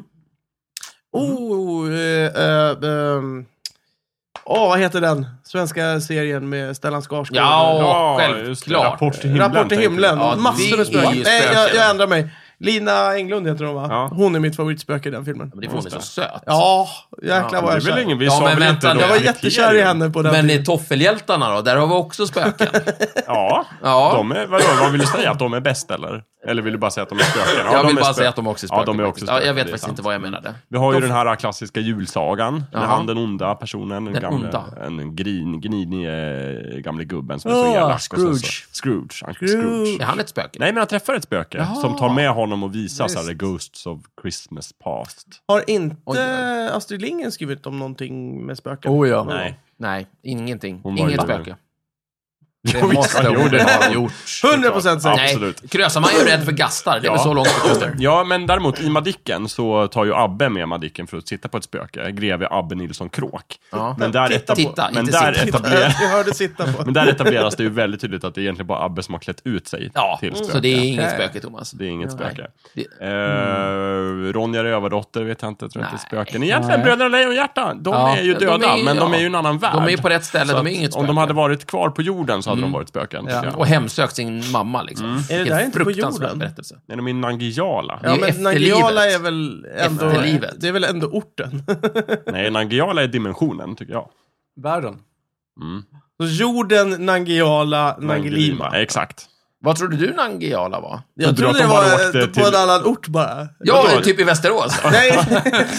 Oh, eh, eh, ehm. Åh, vad heter den svenska serien med Stellan Skarsgård?
Ja,
just det.
självklart.
Rapport till
Eh,
himlen.
Rapport till
tänkte
himlen.
jag.
Ja,
Massor
det
med
är ju
spöken. Nej, jag,
spöken.
jag ändrar mig. Lina Englund heter hon va?
Ja.
Hon är mitt favoritspöke i den filmen.
Men det är för hon är så söt.
Ja, jäklar
Ja,
vad
det
jag
är väl
kär.
ingen, vi
Ja,
sa
men
väl inte
vänta,
då
Jag var
kriterium.
jättekär i henne på den
Men i
tiden.
toffelhjältarna då? Där har vi också spöken.
Ja,
Ja.
De är, vadå, vad vill du säga? Att de är bäst eller? Eller vill du bara säga att de är spöken? Ja,
jag
de
vill
är
bara
spöken.
säga att de också är spöken.
Ja, de är också
faktiskt.
spöken.
ja, jag vet
det är
faktiskt
sant.
inte vad jag menade.
Vi har ju
De-
den här klassiska julsagan.
Ja.
Med han den onda personen. Den,
Den
gamle,
onda.
En grin, grinig eh, gamle gubben som är så
Ah,
Åh,
elak. och sen så-
Scrooge.
Scrooge. Han,
Scrooge.
Är
Scrooge.
han ett spöke?
Nej, men han träffar ett spöke
Jaha.
som tar med honom och visar
Visst.
så här, the ghosts of Christmas past.
Har
Oj,
inte
oj.
Astrid Lindgren skrivit om någonting med spöken?
Oh ja.
Nej.
Nej, ingenting.
Hon var ju
Inget
där.
spöke.
Jo, visst,
måste
jo,
hon
det har han gjort.
100% säker.
Nej,
Absolut.
Krösarman är ju rädd för gastar. Det är väl
Ja.
så långt det kommer.
Ja, men däremot i Madicken så tar ju Abbe med Madicken för att titta på ett spöke. Greve Abbe Nilsson Kråk.
Ja.
Men där,
Titta
etab-
på.
Titta,
men
inte
där
sitta.
etablerar...
Jag hörde sitta på.
Men där etableras det ju väldigt tydligt att det är egentligen bara Abbe som har klätt ut sig
Ja, Mm.
Mm.
till spöke.
så det är inget
Okej.
spöke, Thomas.
Det är inget spöke.
Det-
Eh, Ronja Rövardotter vet jag inte, tror jag inte är
Nej.
spöken. Egentligen,
Nej.
Bröderna Lejonhjärta, de
Ja,
är ju
de är
döda,
ju-
men de
ja.
är ju en annan värld.
De är ju på rätt ställe,
Så
de är
att
inget spöke. Mm.
Om de hade varit kvar på jorden så hade de varit spöken.
Ja.
Ja.
Och hemsökt sin mamma, liksom.
Är Mm. det
Vilken
där inte på
fruktansvärd
jorden?
berättelse.
Nej, de är Nangijala.
är
Ja,
ju
men
efterlivet.
Nangijala är väl ändå...
Efterlivet.
Det är väl ändå orten.
Nej, Nangijala är dimensionen, tycker jag.
Världen.
Mm.
Så jorden, Nangijala, Nangilima.
Exakt.
Vad trodde du Nangijala var?
Jag
Trodde du
trodde
att
det
de bara
var
åkte
eh, på
till-
en annan ort bara.
Ja,
Vadå?
typ i Västerås.
Nej,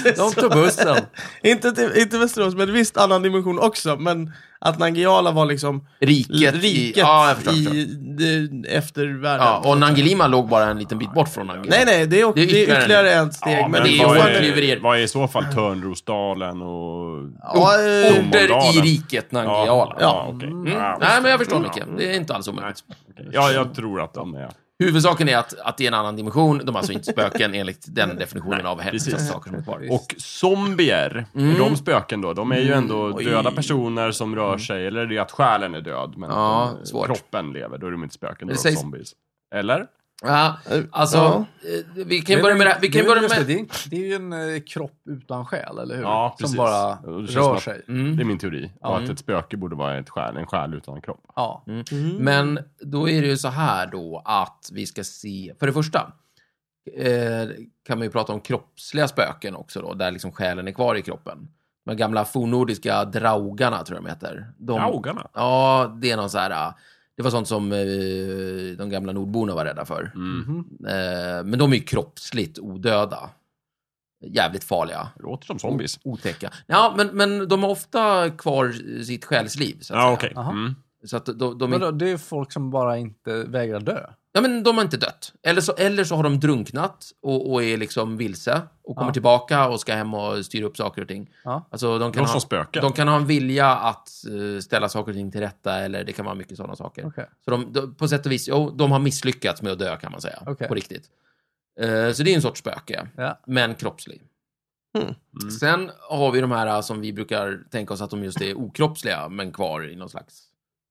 De tog bussen.
inte, till, inte Västerås, men visst annan dimension också. Men att Nangijala var liksom
Riket.
riket
I, ja, jag förstår. jag förstår.
i de, eftervärlden.
Ja, och Nangilima låg bara en liten bit bort från Nangilima.
Nej, nej, det är, det är ytterligare, ett steg.
Ja,
men
men
det är ju
vad,
fortfarande-
hårklyverier.
är, vad är i så fall Törnrosdalen och...
Ja, eh,
Orter i
Domodalen.
riket Nangijala.
ja okej.
Mm.
Ja,
Nej, men jag förstår, Micke. Det är inte alls omöjligt.
okej. ja, jag tror att de är...
Huvudsaken är att, att det är en annan dimension. De är alltså inte spöken enligt den definitionen av
precis.
hemsökssaker som är kvar.
Och zombier,
Mm.
är de spöken då, de är ju ändå döda personer som rör sig, eller det är att själen är död, men
Ja,
att de-
svårt.
kroppen lever, då är de inte spöken, då är
Det
de
sägs-
zombies. Eller?
Ja, alltså,
Ja.
eh, vi kan ju börja med det här. Vi kan
Men
ju börja
just
med...
Det, det, är- det är ju en eh, kropp utan själ, eller hur?
Ja, precis.
som bara
Och det känns som
rör
att-
sig.
Det är
Mm.
min teori. Och att ett spöke borde vara ett själ, en själ utan kropp.
Ja. Mm.
Men då är det ju så här då att vi ska se... För det första eh, kan man ju prata om kroppsliga spöken också då, där liksom själen är kvar i kroppen. De här gamla fornnordiska draugarna, tror jag de heter. De,
Draugarna?
Ja, det är någon så här... ah, Det var sånt som eh, de gamla nordborna var rädda för.
Mm.
Mhm.
Eh, men de är ju kroppsligt odöda. Jävligt farliga.
Det låter som zombies.
Otäcka. Ja, men, men de har ofta kvar sitt själsliv. Så att
Ja,
säga.
okej.
Aha.
Mm.
Så att de, de, är,
Vadå, det är folk som bara inte vägrar dö.
ja, men de har inte dött. Eller så, eller så har de drunknat och, och är liksom vilse och kommer
Ja.
tillbaka och ska hem och styra upp saker och ting.
Ja.
Alltså, de,
Låter
kan ha,
som spöken.
de kan ha en vilja att eh, ställa saker och ting till rätta eller det kan vara mycket sådana saker.
Okej.
Så de, de, på sätt och vis, jo, de har misslyckats med att dö kan man säga.
Okej.
På riktigt. Eh, så det är en sorts spöke,
Ja.
men kroppslig.
Mm.
Mm.
Sen har vi de här eh, som vi brukar tänka oss att de just är okroppsliga, men kvar i någon slags,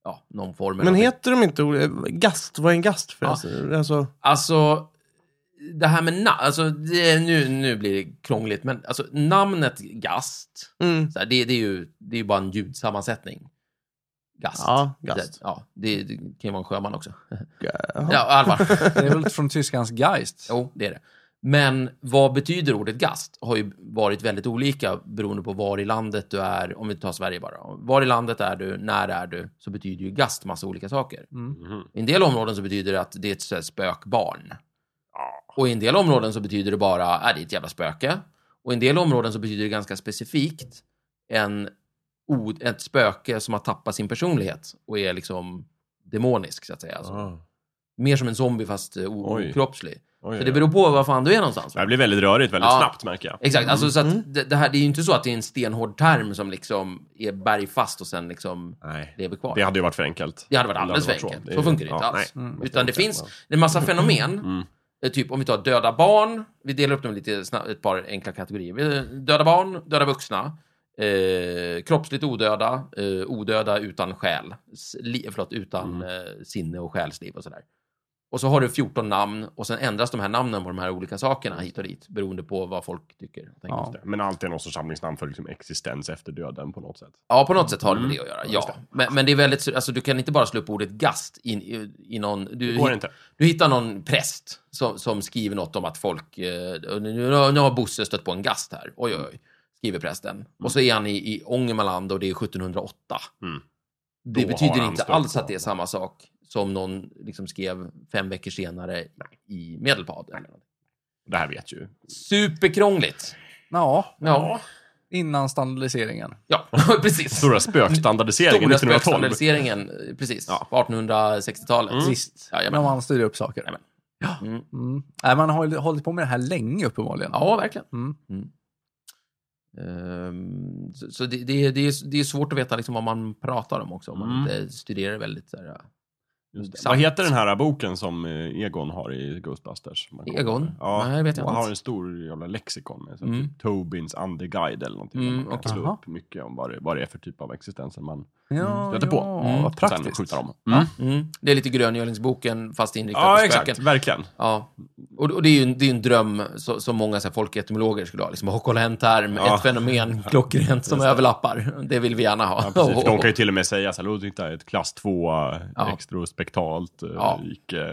ja, någon form. eller
Men
någonting.
heter de inte ol- Gast? Vad är en gast förresten? Alltså,
Alltså, det här med namn, alltså, det, nu, nu blir det krångligt, men alltså namnet gast,
mm.
så här, det, det är ju det är ju bara en ljudsammansättning. Gast.
Ja, gast.
Det, ja, det, det kan ju vara en sjöman också.
Jaha.
Ja, Alvar.
Det är väl från tyskans Geist?
Jo, det är det. Men vad betyder ordet gast har ju varit väldigt olika beroende på var i landet du är, om vi tar Sverige bara. Var i landet är du, när är du, så betyder ju gast massa olika saker.
Mm.
Mhm.
I en del områden så betyder det att det är ett så här spökbarn.
Ja.
Och i en del områden så betyder det bara att det är ett jävla spöke. Och i en del områden så betyder det ganska specifikt en, o- ett spöke som har tappat sin personlighet och är liksom demonisk, så att säga. Alltså,
Ah.
Mer som en zombie fast eh, o-
Oj.
okroppslig.
Oj,
Så
oj,
det
oj.
beror på var fan du är någonstans.
Det här blir väldigt rörigt väldigt
Ja.
snabbt märker jag.
Exakt, alltså så att det, det här det är ju inte så att det är en stenhård term som liksom är bergfast och sen liksom
Nej.
lever kvar.
Det hade ju varit för enkelt.
Det hade varit alldeles för
varit
enkelt.
är-
Så funkar det inte
ja,
alls.
nej.
Mm.
Utan det
Tänkte jag
finns
bara.
en massa fenomen.
Mm.
Eh, Typ om vi tar döda barn. Vi delar upp dem lite snabbt, ett par enkla kategorier. Vi- eh, Döda barn, döda vuxna, eh, kroppsligt odöda, eh, odöda utan själ. S- Li, förlåt, utan
Mm.
eh, sinne och själsliv och sådär. Och så har du 14 namn och sen ändras de här namnen på de här olika sakerna hit och dit beroende på vad folk tycker. och tänker.
Ja.
Men alltid någon sorts samlingsnamn för liksom existens efter döden på något sätt.
Ja, på något sätt har det med
Mm.
det att göra.
just
Ja. Men, men det är väldigt, sur- alltså, du kan inte bara slå upp ordet gast in, i, i någon... Du,
Det går inte.
du hittar någon präst som, som skriver något om att folk... Eh, nu, nu nu har Bosse stött på en gast här. Oj, oj, oj. Skriver prästen. Och så är han i, i Ångermanland och det är 1708.
Mm.
Det
Då har
betyder
han
inte
stött
alls
på
att det är
honom.
samma sak som någon liksom skrev fem veckor senare i Medelpad.
Det här vet ju.
Superkrångligt.
Ja,
Ja,
innan standardiseringen.
ja precis.
Stora spökstandardiseringen 1912.
spökstandardiseringen, eh, precis.
Ja.
På 1860-talet.
Mm.
Visst,
Jajamän.
när man styr upp saker.
Mm.
Mm. Nej, man har ju hållit på med det här länge uppenbarligen.
Ja, verkligen.
Mm.
Ehm, så så det, det, är- det, är, det är svårt att veta liksom vad man pratar om också, om man
Mm.
inte studerar väldigt så här, äh,
Just det.
Sant.
Vad heter den här boken som eh, Egon har i Ghostbusters? Man kommer-
Egon?
Ja,
Nej, vet jag
han
inte.
har en stor jävla lexikon med sig.
Mm.
Typ Tobins andeguide eller någonting.
Mm,
man kan
okej.
Aha.
slå upp mycket om vad det, vad det är för typ av existenser man
Ja,
stöter på.
ja,
Mm.
Vad
och sen
praktiskt.
skjuter dem.
Ja.
Mm.
mm. Det är lite gröngölingsboken fast inriktat
Ja,
på
exakt.
spöken.
Verkligen.
Ja. Och, och det är ju en, det är ju en dröm så, som många så här, folketymologer skulle ha. Liksom, "Åh, kolla en term,
Ja.
ett fenomen, klockrent som överlappar. Det vill vi gärna ha.
Ja, precis. För de kan ju till och med säga så här, Ludvig är ett klass 2,
Oh, Ja.
extrospektalt, eh,
Ja.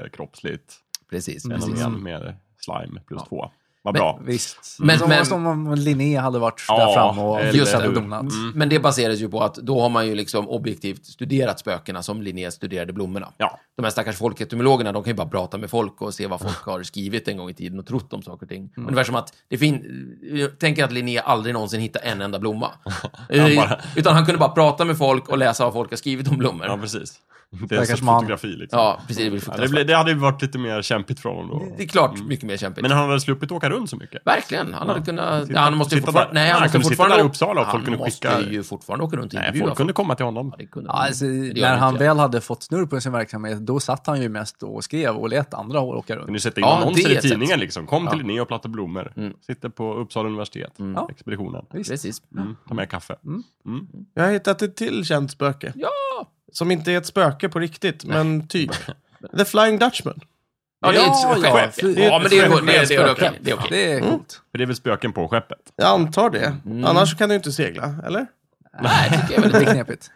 icke-kroppsligt
precis, precis.
fenomen med slime plus
Ja.
2. Vad
Men-
bra.
Visst.
Mm. Men-
som,
men-
som om Linné hade varit
Ja,
där fram och
eller- Mm.
just det. donat.
Mm. Men det baseras ju på att då har man ju liksom objektivt studerat spökena som Linné studerade blommorna.
Ja.
De här stackars folketymologerna, de kan ju bara prata med folk och se vad folk har skrivit en gång i tiden och trott om saker och ting.
Mm.
Ungefär som att, det fin- jag tänker att Linné aldrig någonsin hittade en enda blomma. Eh,
bara-
Utan han kunde bara prata med folk och läsa vad folk har skrivit om blommor.
ja,
Ja,
precis. Det är
Stackars
en
man.
fotografi liksom.
precis. Det, blir
Ja, det,
fruktansvärt.
blir, det hade ju varit lite mer kämpigt för honom då.
det är klart mycket mer kämpigt.
Men han hade sluppit åka runt så mycket.
Verkligen, han hade
Ja.
kunnat...
Sitta-
ja, han måste ju
sitta
fortfarande...
där-
Nej, han,
han
måste
kunde sitta
fortfarande...
där i Uppsala och folk
han
kunde
måste
skicka-
ju fortfarande åka runt och
Nej,
intervjua
folk kunde komma till honom.
Ja, det kunde han.
Alltså,
Mm. Det gör
när
han
han
inte.
väl hade fått snurr på sin verksamhet, då satt han ju mest och skrev och lät andra åka runt.
Kunde sätta in
Ja, det är
annonser i
ett sätt.
tidningen liksom. Kom till
Ja.
Linné och planta blommor.
Mm.
Sitter på Uppsala universitet.
Ja.
Expeditionen.
Visst.
Precis.
Mm. Ta med kaffe.
Mm.
Mm.
Jag har hittat ett till känt spöke.
Ja!
Som inte är ett spöke på riktigt, men typ. The Flying Dutchman.
Ja, det är
Ja,
ett
ja,
skepp. Ja,
fy-
men det är, det, är- det, är- det är
Skepp.
okej. Det är okej. Mm.
Det är coolt.
För det är väl spöken på skeppet?
Jag antar det. Annars kan du inte segla, eller?
Nej, det tycker jag är
Det är
väldigt
knepigt.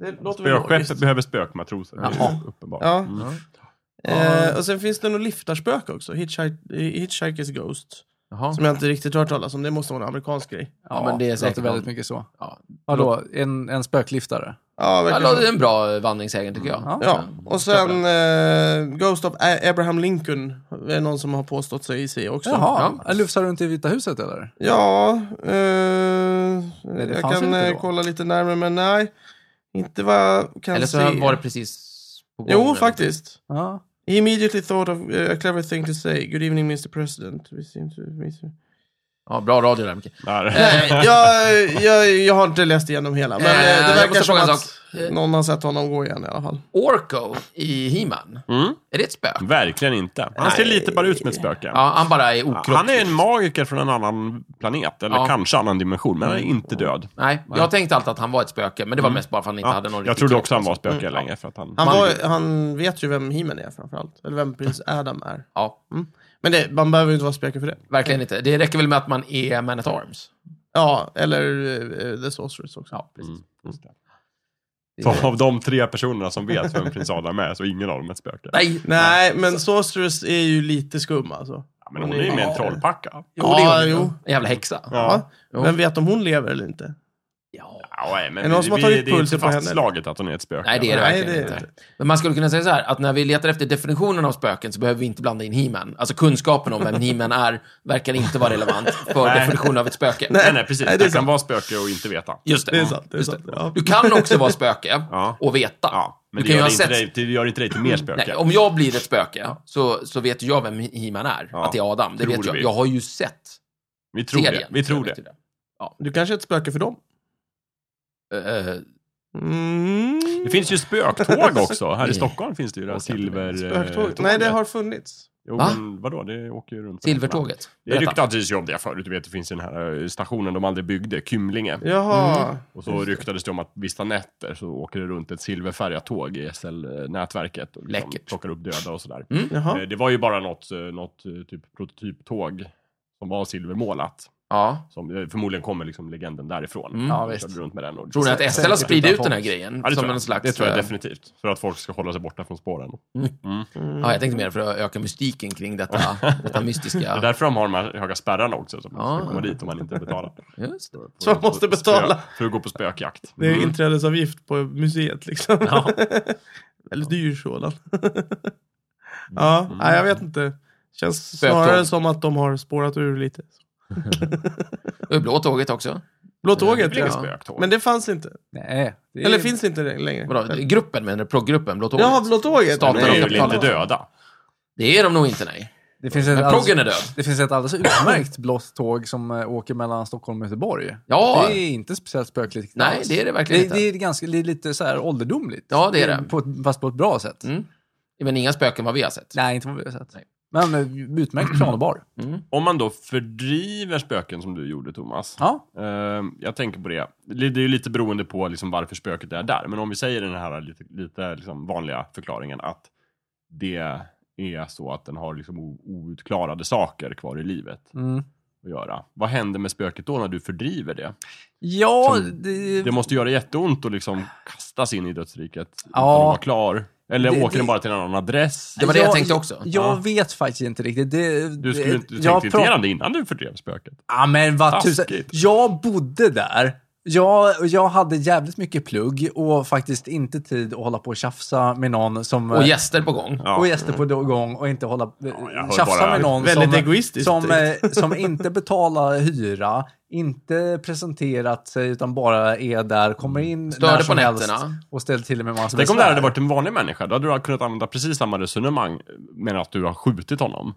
Det låter väl
Spökskeppet
logiskt.
behöver spökmatroser. Det är
Jaha.
ju uppenbart.
Ja.
Mm.
Eh, och sen finns det nog liftarspöke också. Hitchhik- Hitchhiker's Ghost.
Jaha.
Som jag inte riktigt hört talas om. Det måste vara en amerikansk grej.
Ja, men det är säkert
låter väldigt
någon-
mycket så.
Ja.
Vadå, en, en spökliftare?
Ja,
Ja,
verkligen.
det är en bra vandringssägen tycker jag.
Ja.
Ja, och sen eh, Ghost of A- Abraham Lincoln är det någon som har påstått sig se också.
Jaha,
Ja.
ja. lufsar runt i Vita huset eller?
Ja, eh,
det
jag
fanns
kan
inte
eh,
då.
kolla lite närmare, men nej. Inte vad jag kan
Eller så
se.
var det precis på gång.
Jo, faktiskt.
Ja.
He immediately thought of eh, a clever thing to say. Good evening, Mr President. We seem to meet you.
Ja, bra radio där, Micke.
Där.
Nej, jag, jag, jag har inte läst igenom hela, men
Eh,
eh, det
jag
verkar som
måste fråga en
att
sak. Eh.
någon har sett honom gå igen i alla fall.
Orko i He-Man.
Mm.
Är det ett spöke?
Verkligen inte. Han ser
Nej.
lite bara ut som ett spöke.
Ja, han bara är okroppslig.
Han är en magiker från en annan planet, eller
Ja.
kanske annan dimension, men han är inte död.
Nej, jag tänkte alltid att han var ett spöke, men det var mest bara för att han inte
Mm. Ja,
hade någon
jag
riktig
trodde
kropp.
också han var spöke länge. För att han,
Han, var, han vet ju vem he är framförallt, eller vem prins Adam är.
Ja,
Men det, man behöver ju inte vara spöke för det.
verkligen inte. Det räcker väl med att man är Man at Arms.
Ja, eller eh, The Sorceress också.
Ja, precis.
Mm, just det.
Det är-
Så av de tre personerna som vet vem prins Adam är, så är ingen av dem ett spöke.
Nej,
Nej, men Sorceress är ju lite skum alltså.
Ja, men hon är ju med en trollpacka.
Jo, det är
Ja,
hon.
jo.
En jävla häxa. Ja.
Ja.
Ja.
Jo.
Vem vet om hon lever eller inte?
Ja.
Ja, nej, men
Är det någon som har
vi-
tagit
det är inte
pulsen på henne?
fastslaget att hon är ett spöke.
Nej, det är det
Nej,
verkligen
det är
inte. Men man skulle kunna säga så här, att när vi letar efter definitionen av spöken så behöver vi inte blanda in He-Man. Alltså kunskapen om vem He-Man är verkar inte vara relevant för
Nej.
definitionen av ett spöke.
Nej, nej, precis.
Nej, det är
det kan
sant.
vara spöke och inte veta.
Just det.
Det är
Ja,
sant. Det är
just
sant. Ja.
Du kan också vara spöke
Ja.
och veta.
Ja, men
du
det
kan ju
gör,
ha
inte
sett...
dig, det gör inte dig till mer spöke.
Nej, om jag blir ett spöke så, så vet jag vem He-Man är.
Ja.
Att det är Adam. Det
Tror
vet jag.
vi.
Jag har ju sett
vi tror det.
serien.
Vi tror
Jag
det.
vet ju
Du kanske är ett spöke för dem?
det. Eh,
Mm.
Det finns ju spöktåg också. Här i
Nej.
Stockholm finns det ju det här
Åker inte
silver...
med.
Spöktåg?
eh,
Nej, det har funnits.
Jo,
Va?
men vadå? Det åker ju runt. på nätterna.
Silvertåget.
Det
Berätta.
ryktades ju om det förut. Du vet, det finns ju den här eh, stationen de aldrig byggde, Kymlinge.
Jaha.
Och så ryktades det om att vissa nätter så åker det runt ett silverfärgat tåg i SL-nätverket och liksom
Läckert.
plockar upp döda och sådär. Eh,
Jaha.
Det var ju bara något, eh, något eh, typ prototyptåg som var silvermålat.
Ja.
Som eh, förmodligen kommer liksom legenden därifrån.
Mm.
Ja,
De
visst.
körde runt med den och
Tror ni att SL har
Säkert
spridit ut
utan
den här
fångst.
grejen?
Ja, det,
som
tror jag.
en slags...
det tror jag
eh,
definitivt. För att folk ska hålla sig borta från spåren.
Mm.
Ja, jag tänkte mer för att öka mystiken kring detta, detta mystiska.
Det är därför de har de här höga spärrarna också. Så man
Ah.
ska komma dit om man inte betalar.
Just det.
Så man måste betala. Mm.
Spö, för att gå på spökjakt.
Det är inträdesavgift på museet liksom.
Ja.
Väldigt dyr sådan. ja, nej, jag vet inte. Känns
Spöktåg.
snarare som att de har spårat ur lite.
Och i blå tåget också.
Blå
Det är
tåget,
väl inget
ja.
spöktåg?
Men det fanns inte.
Nej. det är-
Eller finns inte det längre.
Vadå, gruppen menar du? Proggruppen? Blå tåget?
Jaha, Blå tåget.
Staten
de är ju
och
väl inte
kapitalet.
döda?
Det är de nog inte, nej.
Det finns ett
Men proggen är död.
Det finns ett alldeles utmärkt blått tåg som eh, åker mellan Stockholm och Göteborg.
Ja.
Det är inte speciellt spöklikt.
Nej,
alls.
det är det verkligen
Det,
inte.
det är ganska, det är lite så här ålderdomligt.
Ja, det är det.
På, ett- fast på ett bra sätt.
Mm. Men inga spöken vad vi har sett.
Nej, inte vad vi har sett. Men eh, utmärkt planbar.
Om man då fördriver spöken som du gjorde Thomas.
Ja.
Ehm, jag tänker på det. Det det är ju lite beroende på liksom varför spöket är där. Men om vi säger den här lite, lite liksom vanliga förklaringen att det är så att den har liksom o- outklarade saker kvar i livet
Mm.
att göra. Vad händer med spöket då när du fördriver det?
Ja,
Som-
det...
Det måste göra jätteont att liksom kastas in i dödsriket utan
Ja.
att vara klar. Eller
Det-
åker den
det-
bara till en annan adress?
Det var det jag
Jag-
tänkte också.
Jag
Ja.
vet faktiskt inte riktigt. Det,
Du skulle
det-
inte du
jag
tänkte inte
pra-
igenom det innan du fördrev spöket.
Ja, men vad tusan.
Taskigt.
Jag bodde där. Jag, jag hade jävligt mycket plugg och faktiskt inte tid att hålla på och tjafsa med någon som...
Och gäster på gång.
Ja.
och gäster på gång och inte hålla,
jag hör
tjafsa
bara
med någon
Väldigt
som,
egoistiskt.
som, eh, som inte betalar hyra, inte presenterat sig utan bara är där, kommer in
Störde
när som
på
helst
nätterna.
och ställer till med massa
Tänk om det
besvär.
här hade varit en vanlig människa. Då hade du kunnat använda precis samma resonemang men att du har skjutit honom.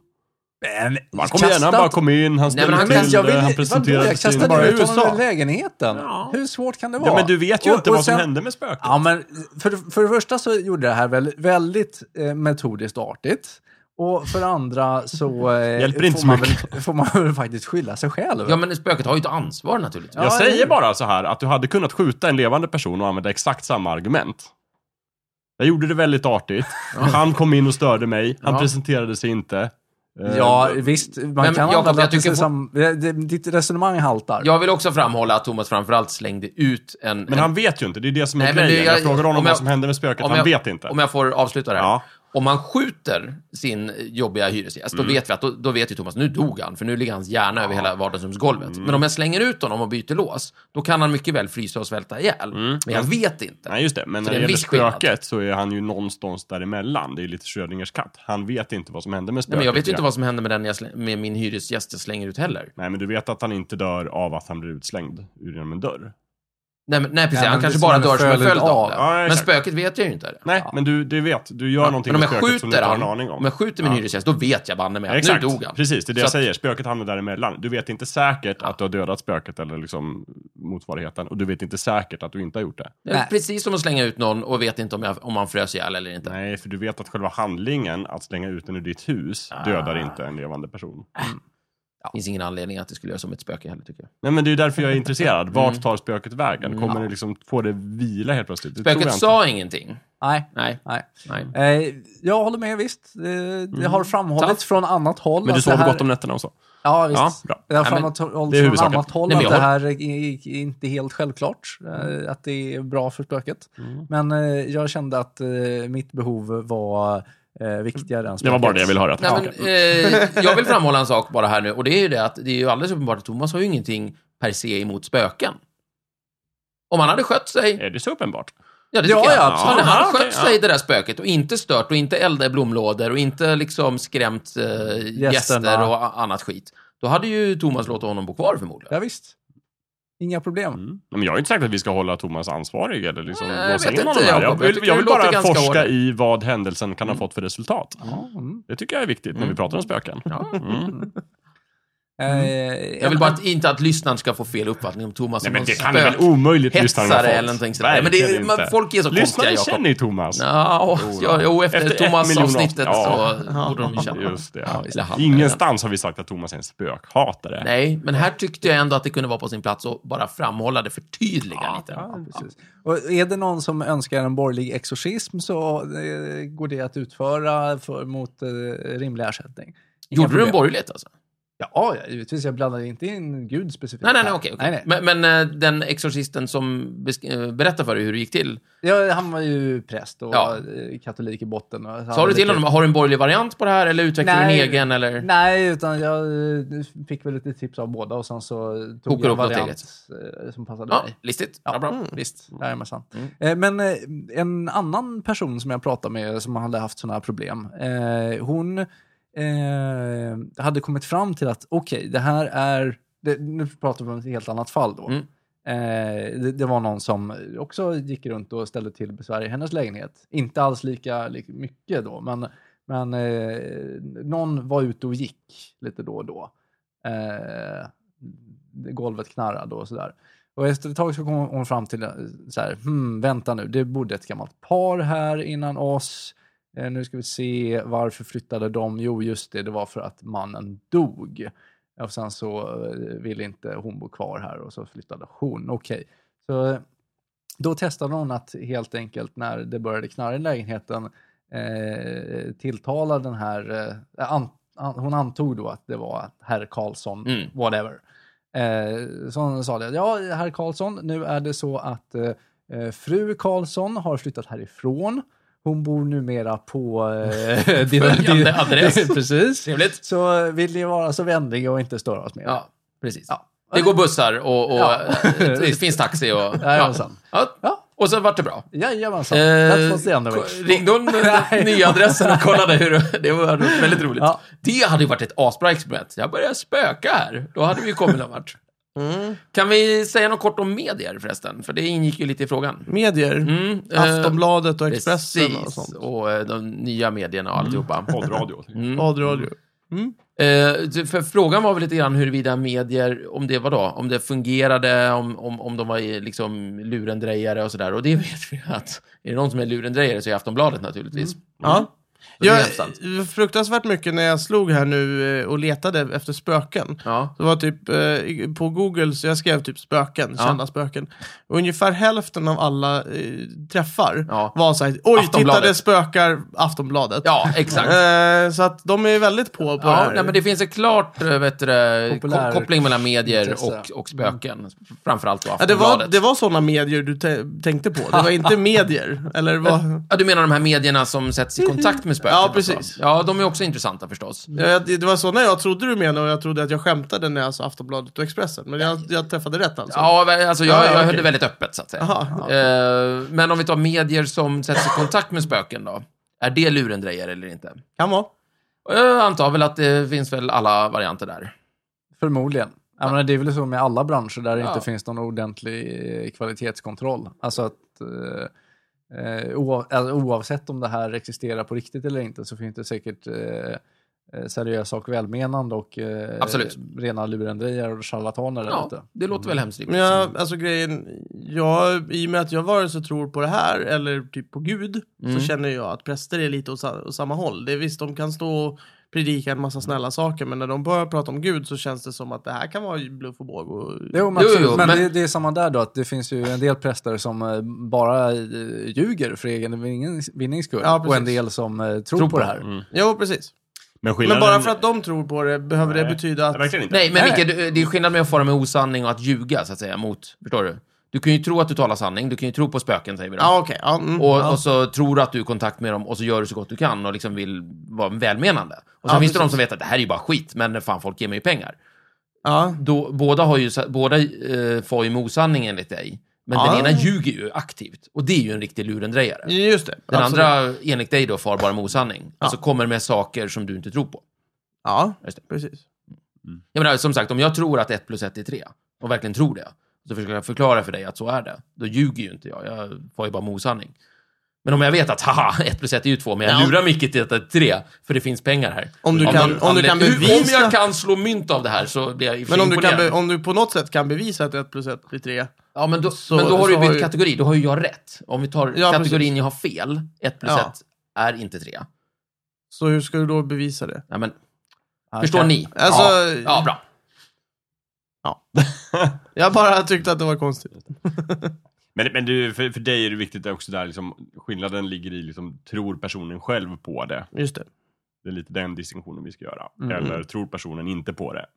Men,
Han kom igen, han bara kom in, han
Nej, men
ställde
han-
till
men
det,
jag vill,
han
vadå,
presenterade
jag
sin...
kastade
bara
ut honom
USA.
ur lägenheten.
Ja.
Hur svårt kan det vara?
Ja, men du vet ju
Och-
inte
och
vad som
sen-
hände med spöket.
Ja, men för, för det första så gjorde det här väl väldigt eh, metodiskt och artigt. Och för det andra så eh,
Hjälper inte
får,
så
man
mycket.
väl, får man väl faktiskt skylla sig själv.
Ja, men spöket har ju ett ansvar naturligtvis.
Jag
Ja,
säger
eller-
bara så här att du hade kunnat skjuta en levande person och använda exakt samma argument. Jag gjorde det väldigt artigt. Han kom in och störde mig. Han
Ja.
presenterade sig inte. Eh,
Ja, visst. Man
men
kan
Jakob,
använda
jag tycker
precis som, det- det- Ditt resonemang haltar.
Jag vill också framhålla att Thomas framförallt slängde ut en...
Men
en
han vet ju inte. Det är det som är
Nej, men
grejen.
det-
jag,
jag-
frågar
om
honom
jag-
vad som hände med spöket.
om
Han
jag-
vet inte.
Om jag får avsluta det här.
Ja.
Om han skjuter sin jobbiga hyresgäst,
Mm.
då vet vi att då, då vet ju Thomas, nu dog han, för nu ligger hans hjärna över hela vardagsrumsgolvet.
Mm.
Men om jag slänger ut honom och byter lås, då kan han mycket väl frysa och svälta ihjäl. Men jag vet inte.
Mm. Nej, just det. Men när
Så det
det
är en
gäller
viss skillnad.
spöket så är han ju någonstans däremellan. Det är ju lite Schrödingers katt. Han vet inte vad som hände med spöket.
Nej, men jag vet ju inte
igen.
vad som händer med, den jag slä- med min hyresgäst jag slänger ut heller.
Nej, men du vet att han inte dör av att han blir utslängd ur genom en dörr.
Nej, men, nej precis.
Ja, men
han kanske
det är
bara
som en
dör som en
följd
följd av
av.
det.
Ja,
men
exakt.
spöket vet jag ju inte.
Nej, men du, du vet. Du gör någonting
men om
med
jag
spöket som du
skjuter
inte har
han,
en aning
om
om.
jag skjuter min hyresgäst, då vet jag banne mig att
Exakt,
nu dog han.
precis. Det är det
Så
jag
att-
säger. Spöket hamnar däremellan. Du vet inte säkert att du har dödat spöket eller liksom motsvarigheten. Och du vet inte säkert att du inte har gjort det.
Det är
Nej.
Precis som att slänga ut någon och vet inte om, jag, om man frös ihjäl eller inte.
Nej, för du vet att själva handlingen att slänga ut den ur ditt hus
Ah.
dödar inte en levande person.
Det finns ingen anledning att det skulle göra som ett spöke heller, tycker jag.
Nej, men det är ju därför jag är intresserad. Vart
Mm.
tar spöket vägen? Kommer det liksom få det vila helt plötsligt? Det tror jag
Spöket
inte.
sa ingenting.
Nej.
Nej.
Nej.
Nej.
Eh, jag håller med, visst. Det, det har framhållits från annat håll.
Mm. Men du
alltså
att
sover
det här-
gott om nätterna och så?
Ja, visst.
Ja, bra.
Det har
Nej, men-
framhållits
Det är
från
huvudsaken.
annat håll
Nej, men
att det
jag
här är, är inte helt självklart. eh, Att det är bra för spöket.
Mm.
Men eh, jag kände att eh, mitt behov var eh, viktigare än
Det var bara det jag ville höra.
Nej, men, eh, jag vill framhålla en sak bara här nu, och det är ju det att det är ju alldeles uppenbart att Thomas har ju ingenting per se emot spöken. Om han hade skött sig
Är det så uppenbart?
Ja, det
Ja,
tycker jag.
ja,
absolut.
absolut.
Hade han
Ja, okej,
skött sig, det där spöket, och inte stört och inte eldat i blomlådor och inte liksom skrämt eh, gäster och a- annat skit, då hade ju Thomas låtit honom bo kvar förmodligen.
Ja, visst. Inga problem.
Mm. Men jag har inte sagt att vi ska hålla Thomas ansvarig eller liksom
Nej, jag
låsa
vet
in honom
inte,
här. Jag
Jakob. Jag
vill,
tycker
jag
det
vill
låter
bara
ganska Mm.
forska
hård.
i vad händelsen kan ha fått för resultat.
Ja, mm.
Det tycker jag är viktigt när vi pratar om spöken. Mm.
Eh,
Mm. Jag vill
en-
bara att, inte att lyssnaren ska få fel uppfattning om Thomas
Nej,
som
men
någon
det kan det väl omöjligt lyssnarna ha
hetsare
fått?
eller någonting sådär. Men det är-
Verkligen
man-
inte.
folk är så konstiga,
Lyssnarna
Jakob.
känner ju Thomas.
Ja, ja, jo, efter,
Efter ett
Thomas-avsnittet
miljon
så
avsnitt.
borde de ju känna.
Just det.
visst. Eller han.
Ingenstans har vi sagt att Thomas är en spökhatare.
Nej, men här tyckte jag ändå att det kunde vara på sin plats att bara framhålla det, förtydliga lite.
Ja, precis. Och är det någon som önskar en borgerlig exorcism så eh, går det att utföra för, mot eh, rimlig ersättning. Inga
Gjorde du en
problem.
borgerlighet alltså?
Ja, ja, givetvis. Jag blandade inte in Gud specifikt.
Nej, nej, nej,
här.
okej. okej.
Nej, nej.
Men, men eh, den exorcisten som besk- eh, berättade för dig hur det gick till,
Ja, han var ju präst och
Ja.
eh, katolik i botten. och-
Sa du till honom, har du en borgerlig variant på det här eller utvecklar du en
Nej.
egen? Eller?
Nej, utan jag eh, fick väl lite tips av båda och sen så tog
Kokade
jag
upp
en
något
variant eh, som passade
Ja,
mig.
listigt.
Ja,
Ja, bra.
Mm. visst. Jajamensan. Eh, Men eh, en annan person som jag pratade med som hade haft sådana här problem, eh, hon eh, hade kommit fram till att okej, det här är... Det, nu pratar vi om ett helt annat fall då.
Mm.
Eh, det, det var någon som också gick runt och ställde till besvär i hennes lägenhet. Inte alls lika, lika mycket då, men, men eh, någon var ute och gick lite då och då. Eh, golvet knarrade och sådär. Och efter ett tag så kom hon fram till eh, så här, hmm, vänta nu, det bodde ett gammalt par här innan oss. Eh, nu ska vi se, varför flyttade de? Jo, just det, det var för att mannen dog. Och sen så eh, ville inte hon bo kvar här och så flyttade hon. Okej. Så eh, då testade hon att helt enkelt när det började knarra i lägenheten eh, tilltala den här, eh, an, an, hon antog då att det var herr Karlsson,
Mm.
whatever. Eh, så hon sa det, ja herr Karlsson, nu är det så att eh, eh, fru Karlsson har flyttat härifrån. Hon bor numera på eh,
Följande adress.
Precis.
Trevligt.
Så vill ni vara så vänliga och inte störa oss mer.
Ja, precis.
Ja.
Det går bussar och, och
Ja.
det finns taxi och... Ja.
Jajamensan.
Ja.
Ja.
Och så vart det bra.
Jajamensan. That was the end of
Eh,
it.
ringde hon den nya adressen och kollade hur det- det var väldigt roligt.
Ja.
Det hade ju varit ett asbra experiment. Jag började spöka här. Då hade vi ju kommit någon vart. Kan vi säga något kort om medier förresten? För det ingick ju lite i frågan.
Medier.
Mm, eh,
Aftonbladet och Expressen och
Precis.
sånt. Mm.
Och eh, de nya medierna och alltihopa.
Poddradio.
Mm.
Adradio.
Eh, du- för frågan var väl lite grann huruvida medier, om det var då, om det fungerade, om, om, om de var i, liksom lurendrejare och sådär. Och det vet vi att är det någon som är lurendrejare så är Aftonbladet naturligtvis.
Ja.
Mm. det är
Jag,
helt sant.
fruktansvärt mycket när jag slog här nu eh, och letade efter spöken.
Ja.
Det var typ eh, på Google, så jag skrev typ spöken,
Ja.
kända spöken. Och ungefär hälften av alla eh, träffar
Ja.
var såhär, oj, titta
Aftonbladet."
det spökar Aftonbladet.
ja, exakt.
Eh, så att de är väldigt på på det
Ja,
här.
nej, men det finns en klart eh, vet du, det,
Populär-
ko- koppling mellan medier
intresse.
och, och spöken. Framförallt då
Mm. ja, det, var,
Aftonbladet.
det var sådana medier du te- tänkte på, det var inte medier. Eller vad?
Ja, du menar de här medierna som sätts i kontakt med med spöken.
Mm-hmm. Ja,
och så.
precis.
Ja, de är också intressanta förstås.
Ja, det det var sådana jag trodde du menade och jag trodde att jag skämtade när jag sa Aftonbladet och Expressen. Men jag, jag träffade rätt alltså.
Ja, vä- alltså jag,
Ja, ja,
jag höll
okej.
det väldigt öppet så att säga.
Aha, ja.
Eh, men om vi tar medier som sätter sig i kontakt med spöken då. Är det lurendrejare eller inte?
Kan vara.
Jag antar väl att det finns väl alla varianter där.
Förmodligen. Jag menar, det är väl så med alla branscher där det
Ja.
inte finns någon ordentlig eh, kvalitetskontroll. Alltså att eh, eh, oav, alltså oavsett om det här existerar på riktigt eller inte så finns det säkert eh, eh, seriösa och välmenande och eh,
Absolut.
rena lurendrejare och charlataner där
Ja,
ute.
det låter väl hemskt rimligt.
Men jag, alltså grejen, jag, i och med att jag vare sig tror på det här eller typ på Gud,
Mm.
så känner jag att präster är lite åt, sa- åt samma håll. Det är visst, de kan stå och predika en massa snälla saker, men när de börjar prata om Gud så känns det som att det här kan vara bluff och båg. Och...
Jo, men,
Jo,
absolut.
jo,
men,
men-
Det, det är samma där då, att det finns ju en del präster som eh, bara eh, ljuger för egen vinnings- vinnings skull.
Ja, precis.
och en del som eh, tror, på det här.
Mm.
Jo, precis.
Men
Men
skillnaden...
bara för att de tror på det, behöver det
Nej,
betyda att...
Nej, verkligen inte.
Nej, men
Nej.
Micke, du- det är skillnad med att fara med osanning och att ljuga, så att säga, mot... Förstår du? Du kan ju tro att du talar sanning, du kan ju tro på spöken, säger vi då.
Ja, okej. Ja, mm,
Och,
ja.
och så tror du att du är i kontakt med dem och så gör du så gott du kan och liksom vill vara välmenande. Och sen
Ja,
finns det de
precis.
som vet att det här är ju bara skit, men fan, folk ger mig ju pengar.
ja.
Då, båda har ju, sa- båda eh, får ju med osanning enligt dig, men
Ja.
den ena ljuger ju aktivt. Och det är ju en riktig lurendrejare.
Just det.
Den
absolut.
andra, enligt dig då, far bara med osanning. Alltså kommer med saker som du inte tror på.
Ja,
Just det.
precis.
Jag menar, som sagt, om jag tror att 1 plus 1 är 3 och verkligen tror det, så försöker jag förklara för dig att så är det. Då ljuger ju inte jag. Jag får ju bara med osanning. Men om jag vet att haha, 1 plus 1 är ju 2, men jag
Ja.
lurar Micke till att det är 3, för det finns pengar här.
Om du kan-
någon
om du kan
anledning- Om
bevisa-
jag kan slå mynt av det här så blir jag i och för
Men
sig
om du, kan
imponerad.
be, om du på något sätt kan bevisa att 1 plus 1 blir 3.
Ja, men då,
Så-
men då har
så
du ju
har
bytt
ju-
kategori. Då har ju jag rätt. Om vi tar
Ja,
kategorin
precis.
jag har fel, 1 plus 1
Ja.
är inte 3.
Så hur ska du då bevisa det?
Ja, men,
Ja,
Förstår
kan-
ni?
Alltså-
ja. ja, bra.
Jag bara tyckte att det var konstigt.
Men, men du, för, för dig är det viktigt också där liksom, skillnaden ligger i liksom, tror personen själv på det?
Just det.
Det är lite den distinktionen vi ska göra.
Mm.
Eller tror personen inte på det? För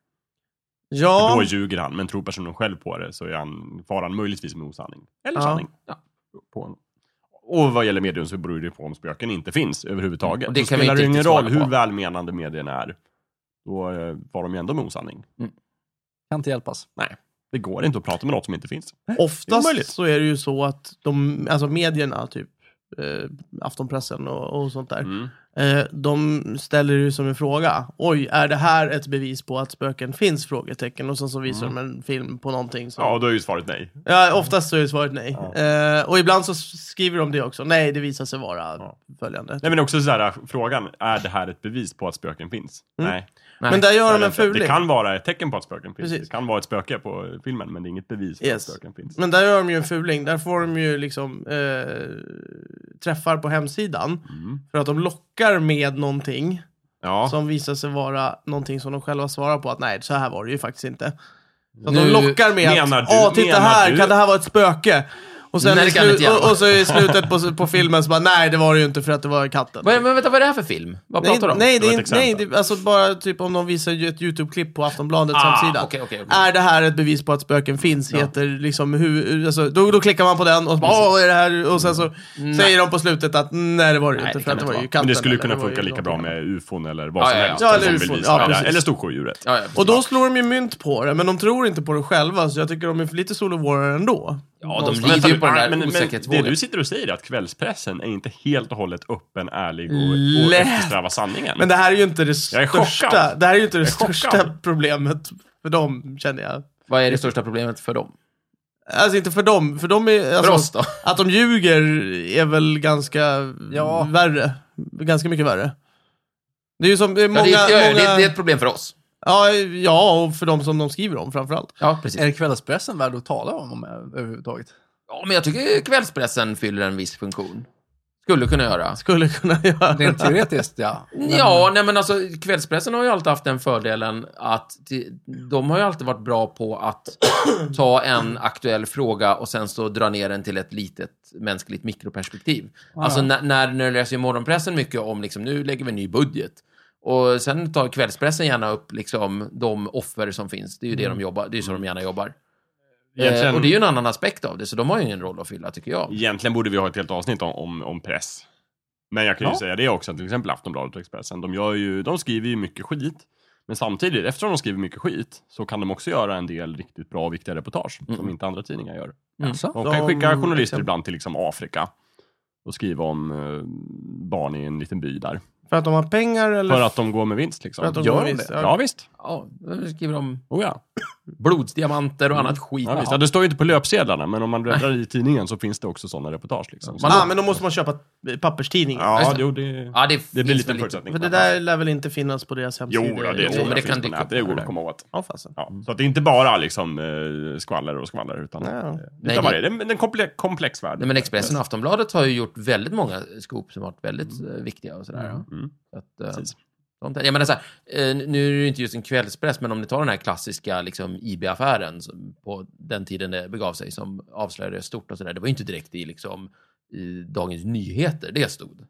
Ja.
Då ljuger han, men tror personen själv på det så är han, far han möjligtvis med osanning. Eller
Ja.
sanning. På honom. Och vad gäller medium så beror det på om spöken inte finns överhuvudtaget.
Och det
Då
kan vi
spelar
inte
det ingen
riktigt
roll
svara
hur
på.
välmenande medierna är. Då eh, far de ju ändå med osanning.
Kan inte hjälpas.
Det går inte att prata med något som inte finns. Det är
Oftast
omöjligt.
så är det ju så att de, alltså medierna, typ eh, aftonpressen och, och sånt där,
Mm.
eh, de ställer ju som en fråga. Oj, är det här ett bevis på att spöken finns? Frågetecken. Och sen så visar de en film på någonting. Som,
Mm. Ja, och
ja.
då är ju svaret nej.
oftast så är svaret nej. Eh, och ibland så skriver de det också. Nej, det visar sig vara
Ja.
följande.
Nej men också så här, äh, frågan, är det här ett bevis på att spöken finns?
Mm.
Nej.
Nej.
Men där
det,
gör
är
de
det
en
inte.
fuling.
det kan vara ett tecken på att spöken finns.
Precis.
Det kan vara ett spöke på filmen, men det är inget bevis på
Yes. Mm.
att spöken finns.
Men där gör de ju en fuling. Där får de ju liksom eh, träffar på hemsidan.
Mm.
För att de lockar med någonting.
Ja.
som visar sig vara någonting som de själva svarar på att nej, så här var det ju faktiskt inte. Så att
Nu-
de lockar med
Menar
att,
du-
åh titta
menar
här,
du-
kan det här vara ett spöke? Och, sen
Nej,
i
det kan det
slu-
inte gärna
och, och så i slutet på, på filmen så bara, nej det var det ju inte för att det var katten.
Vad, men vänta, vad är det här för film? Vad
nej,
pratar du om?
nej, det
Det
är
var ett
inte, nej,
exempel.
det, alltså bara typ om de visar ju ett YouTube-klipp på Aftonbladets
Ah,
hemsida.
okej, okej, okej.
Är det här ett bevis på att spöken finns? Heter liksom, hur, alltså, då, då klickar man på den och så bara, åh, vad är det här? Och sen så
Mm.
säger de på slutet att nej, det var det ju
Nej,
inte
det
för
kan
att det
inte
var ju
vara.
katten.
Men det skulle
eller
kunna
det var ju
funka lika bra
någonting
med ufon eller vad
Ja,
som
ja, ja.
helst.
Ja,
som
eller
vill
ufon.
visa
Ja,
det.
precis.
eller storsjöodjuret.
Ja, ja,
Och då slår de ju mynt på det, men de tror inte på det själva, så jag tycker de är för lite solovårare ändå.
ja, de
Någonstans.
Men
lider ju
vänta,
på den
men-
där
men
osäkerhetsvågen.
Det du sitter och säger är att kvällspressen är inte helt och hållet öppen, ärlig och, och
Lätt.
eftersträvar sanningen.
eh,
Men det här är ju inte det
Jag är
största,
chockad.
det här är ju inte det
är chockad.
största problemet för dem, känner jag.
Vad är det största problemet för dem?
Alltså inte för dem, för dem är...
För
Alltså,
oss då?
Att de ljuger är väl ganska
Ja.
värre. Ganska mycket värre. Det är ju som, det är
Ja,
många...
det,
Ja,
är- ja, ja,
många,
det, det är ett problem för oss.
ja, ja, och för dem som de skriver om framförallt.
Ja, precis.
Är det kvällspressen värd att tala om eh, överhuvudtaget?
Ja, men jag tycker kvällspressen fyller en viss funktion. Skulle kunna göra.
Skulle kunna göra.
Rent teoretiskt, ja.
Ja, nej men alltså kvällspressen har ju alltid haft den fördelen att de- de har ju alltid varit bra på att ta en aktuell fråga och sen så dra ner den till ett litet mänskligt mikroperspektiv. Alltså när, när, när du läser i morgonpressen mycket om liksom, nu lägger vi en ny budget. Och sen tar kvällspressen gärna upp liksom, de offer som finns. Det är ju
Mm.
det de jobbar, det är ju så de gärna jobbar. Eh,
Egentligen-
och det är ju en annan aspekt av det, så de har ju ingen roll att fylla tycker jag.
Egentligen borde vi ha ett helt avsnitt om, om, om press. Men jag kan ju
Ja.
säga det också, att till exempel Aftonbladet och Expressen, de, gör ju, de skriver ju mycket skit. Men samtidigt, eftersom de skriver mycket skit, så kan de också göra en del riktigt bra och viktiga reportage som
Mm.
inte andra tidningar gör.
Alltså?
De kan
De-
skicka journalister
exempel-
ibland till liksom Afrika och skriva om eh, barn i en liten by där.
För att de har pengar eller?
För att de går med vinst liksom.
För att de
Gör
går
de
med vinst,
det?
ja.
Ja, visst.
Ja, då skriver de
Oh, ja.
blodsdiamanter och annat skit.
Mm. Ja, visst. Ja, det står ju inte på löpsedlarna, men om man bläddrar i tidningen så finns det också sådana reportage. Liksom.
Man-
ah, men då måste man köpa papperstidningar.
Ja,
Just det.
jo, det,
Ja, det,
det blir
finns
lite
väl
förutsättning.
För det där lär väl inte finnas på deras
Jo,
hemsida?
ja, det,
Jo, men
tror jag
det
finns
kan
på
dyka
nätet.
upp
Det går
där.
att komma åt.
Ja, fasen.
Ja, så att det är inte bara liksom, eh, skvaller och skvaller, utan
Ja.
eh,
Nej,
utan vad
det-
det är. Det är en- det är en komple komplex värld.
Nej, men Expressen och Aftonbladet har ju gjort väldigt många scoop som varit väldigt eh, viktiga och sådär. ja.
Mm.
Så Att, eh,
Precis.
sånt där. Jag menar så här, eh, nu är det ju inte just en kvällspress, men om ni tar den här klassiska liksom, IB-affären som på den tiden det begav sig som avslöjade stort och sådär. Det var ju inte direkt i, liksom, i Dagens Nyheter det stod.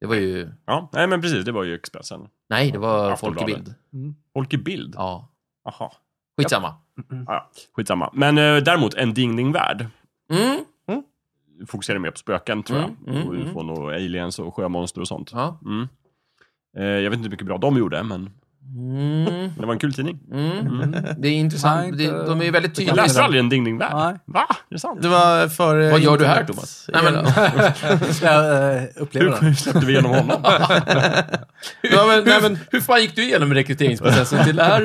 Det var ju,
Ja, nej men precis, det var ju Expressen.
nej, det var Folk i
Aftonbladet.
Bild.
Mm.
Folk i bild?
Ja, Mm.
Jaha.
skitsamma.
Ja, ja, skitsamma. Men eh, däremot, En ding ding värld
Mm,
fokuserar mer på spöken, tror
Mm,
jag.
mm,
och
mm.
ufon och aliens och sjömonster och sånt.
ja.
Mm. Eh, jag vet inte hur mycket bra de gjorde, men men
Mm,
det var en kul tidning.
mm.
Mm.
Det är intressant.
Nej, inte-
Det, de är ju väldigt
Jag
tydliga.
läste aldrig En ding ding värld.
Nej.
Va? Är det sant?
Det var före...
Vad gör du här,
internet-
Thomas? Nej, men,
Jag eh, upplever det.
Hur släppte vi igenom honom?
Ja, men, nej, men,
hur, hur fan gick du igenom rekryteringsprocessen till det här?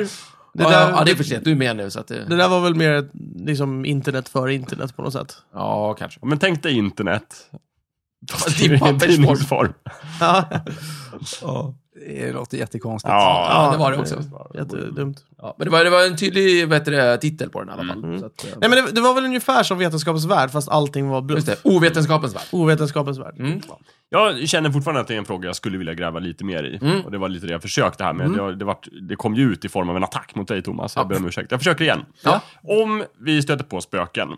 Det
ja,
där-
ja, det är för sent. Du är med nu, så att
det
det,
där var väl mer ett, liksom internet före internet på något sätt.
Ja, kanske.
Men tänk dig internet. Fast
i
i en
pappersform.
tidningsform.
Ja,
Det låter jättekonstigt.
Ja,
Ja, det var det också.
jättedumt.
Ja, men det var, det var en tydlig vad heter det, titel på den i alla fall.
Mm.
Så att, eh,
Nej, men det, det var väl ungefär som Vetenskapens värld, fast allting var bluff.
just det. Ovetenskapens värld.
Ovetenskapens värld.
Mm.
Jag känner fortfarande att det är en fråga jag skulle vilja gräva lite mer i.
Mm.
Och det var lite det jag försökte här med. Det, det, vart, det kom ju ut i form av en attack mot dig Thomas. Jag
Ja.
ber om ursäkt. Jag försöker igen.
Ja.
Om vi stöter på spöken,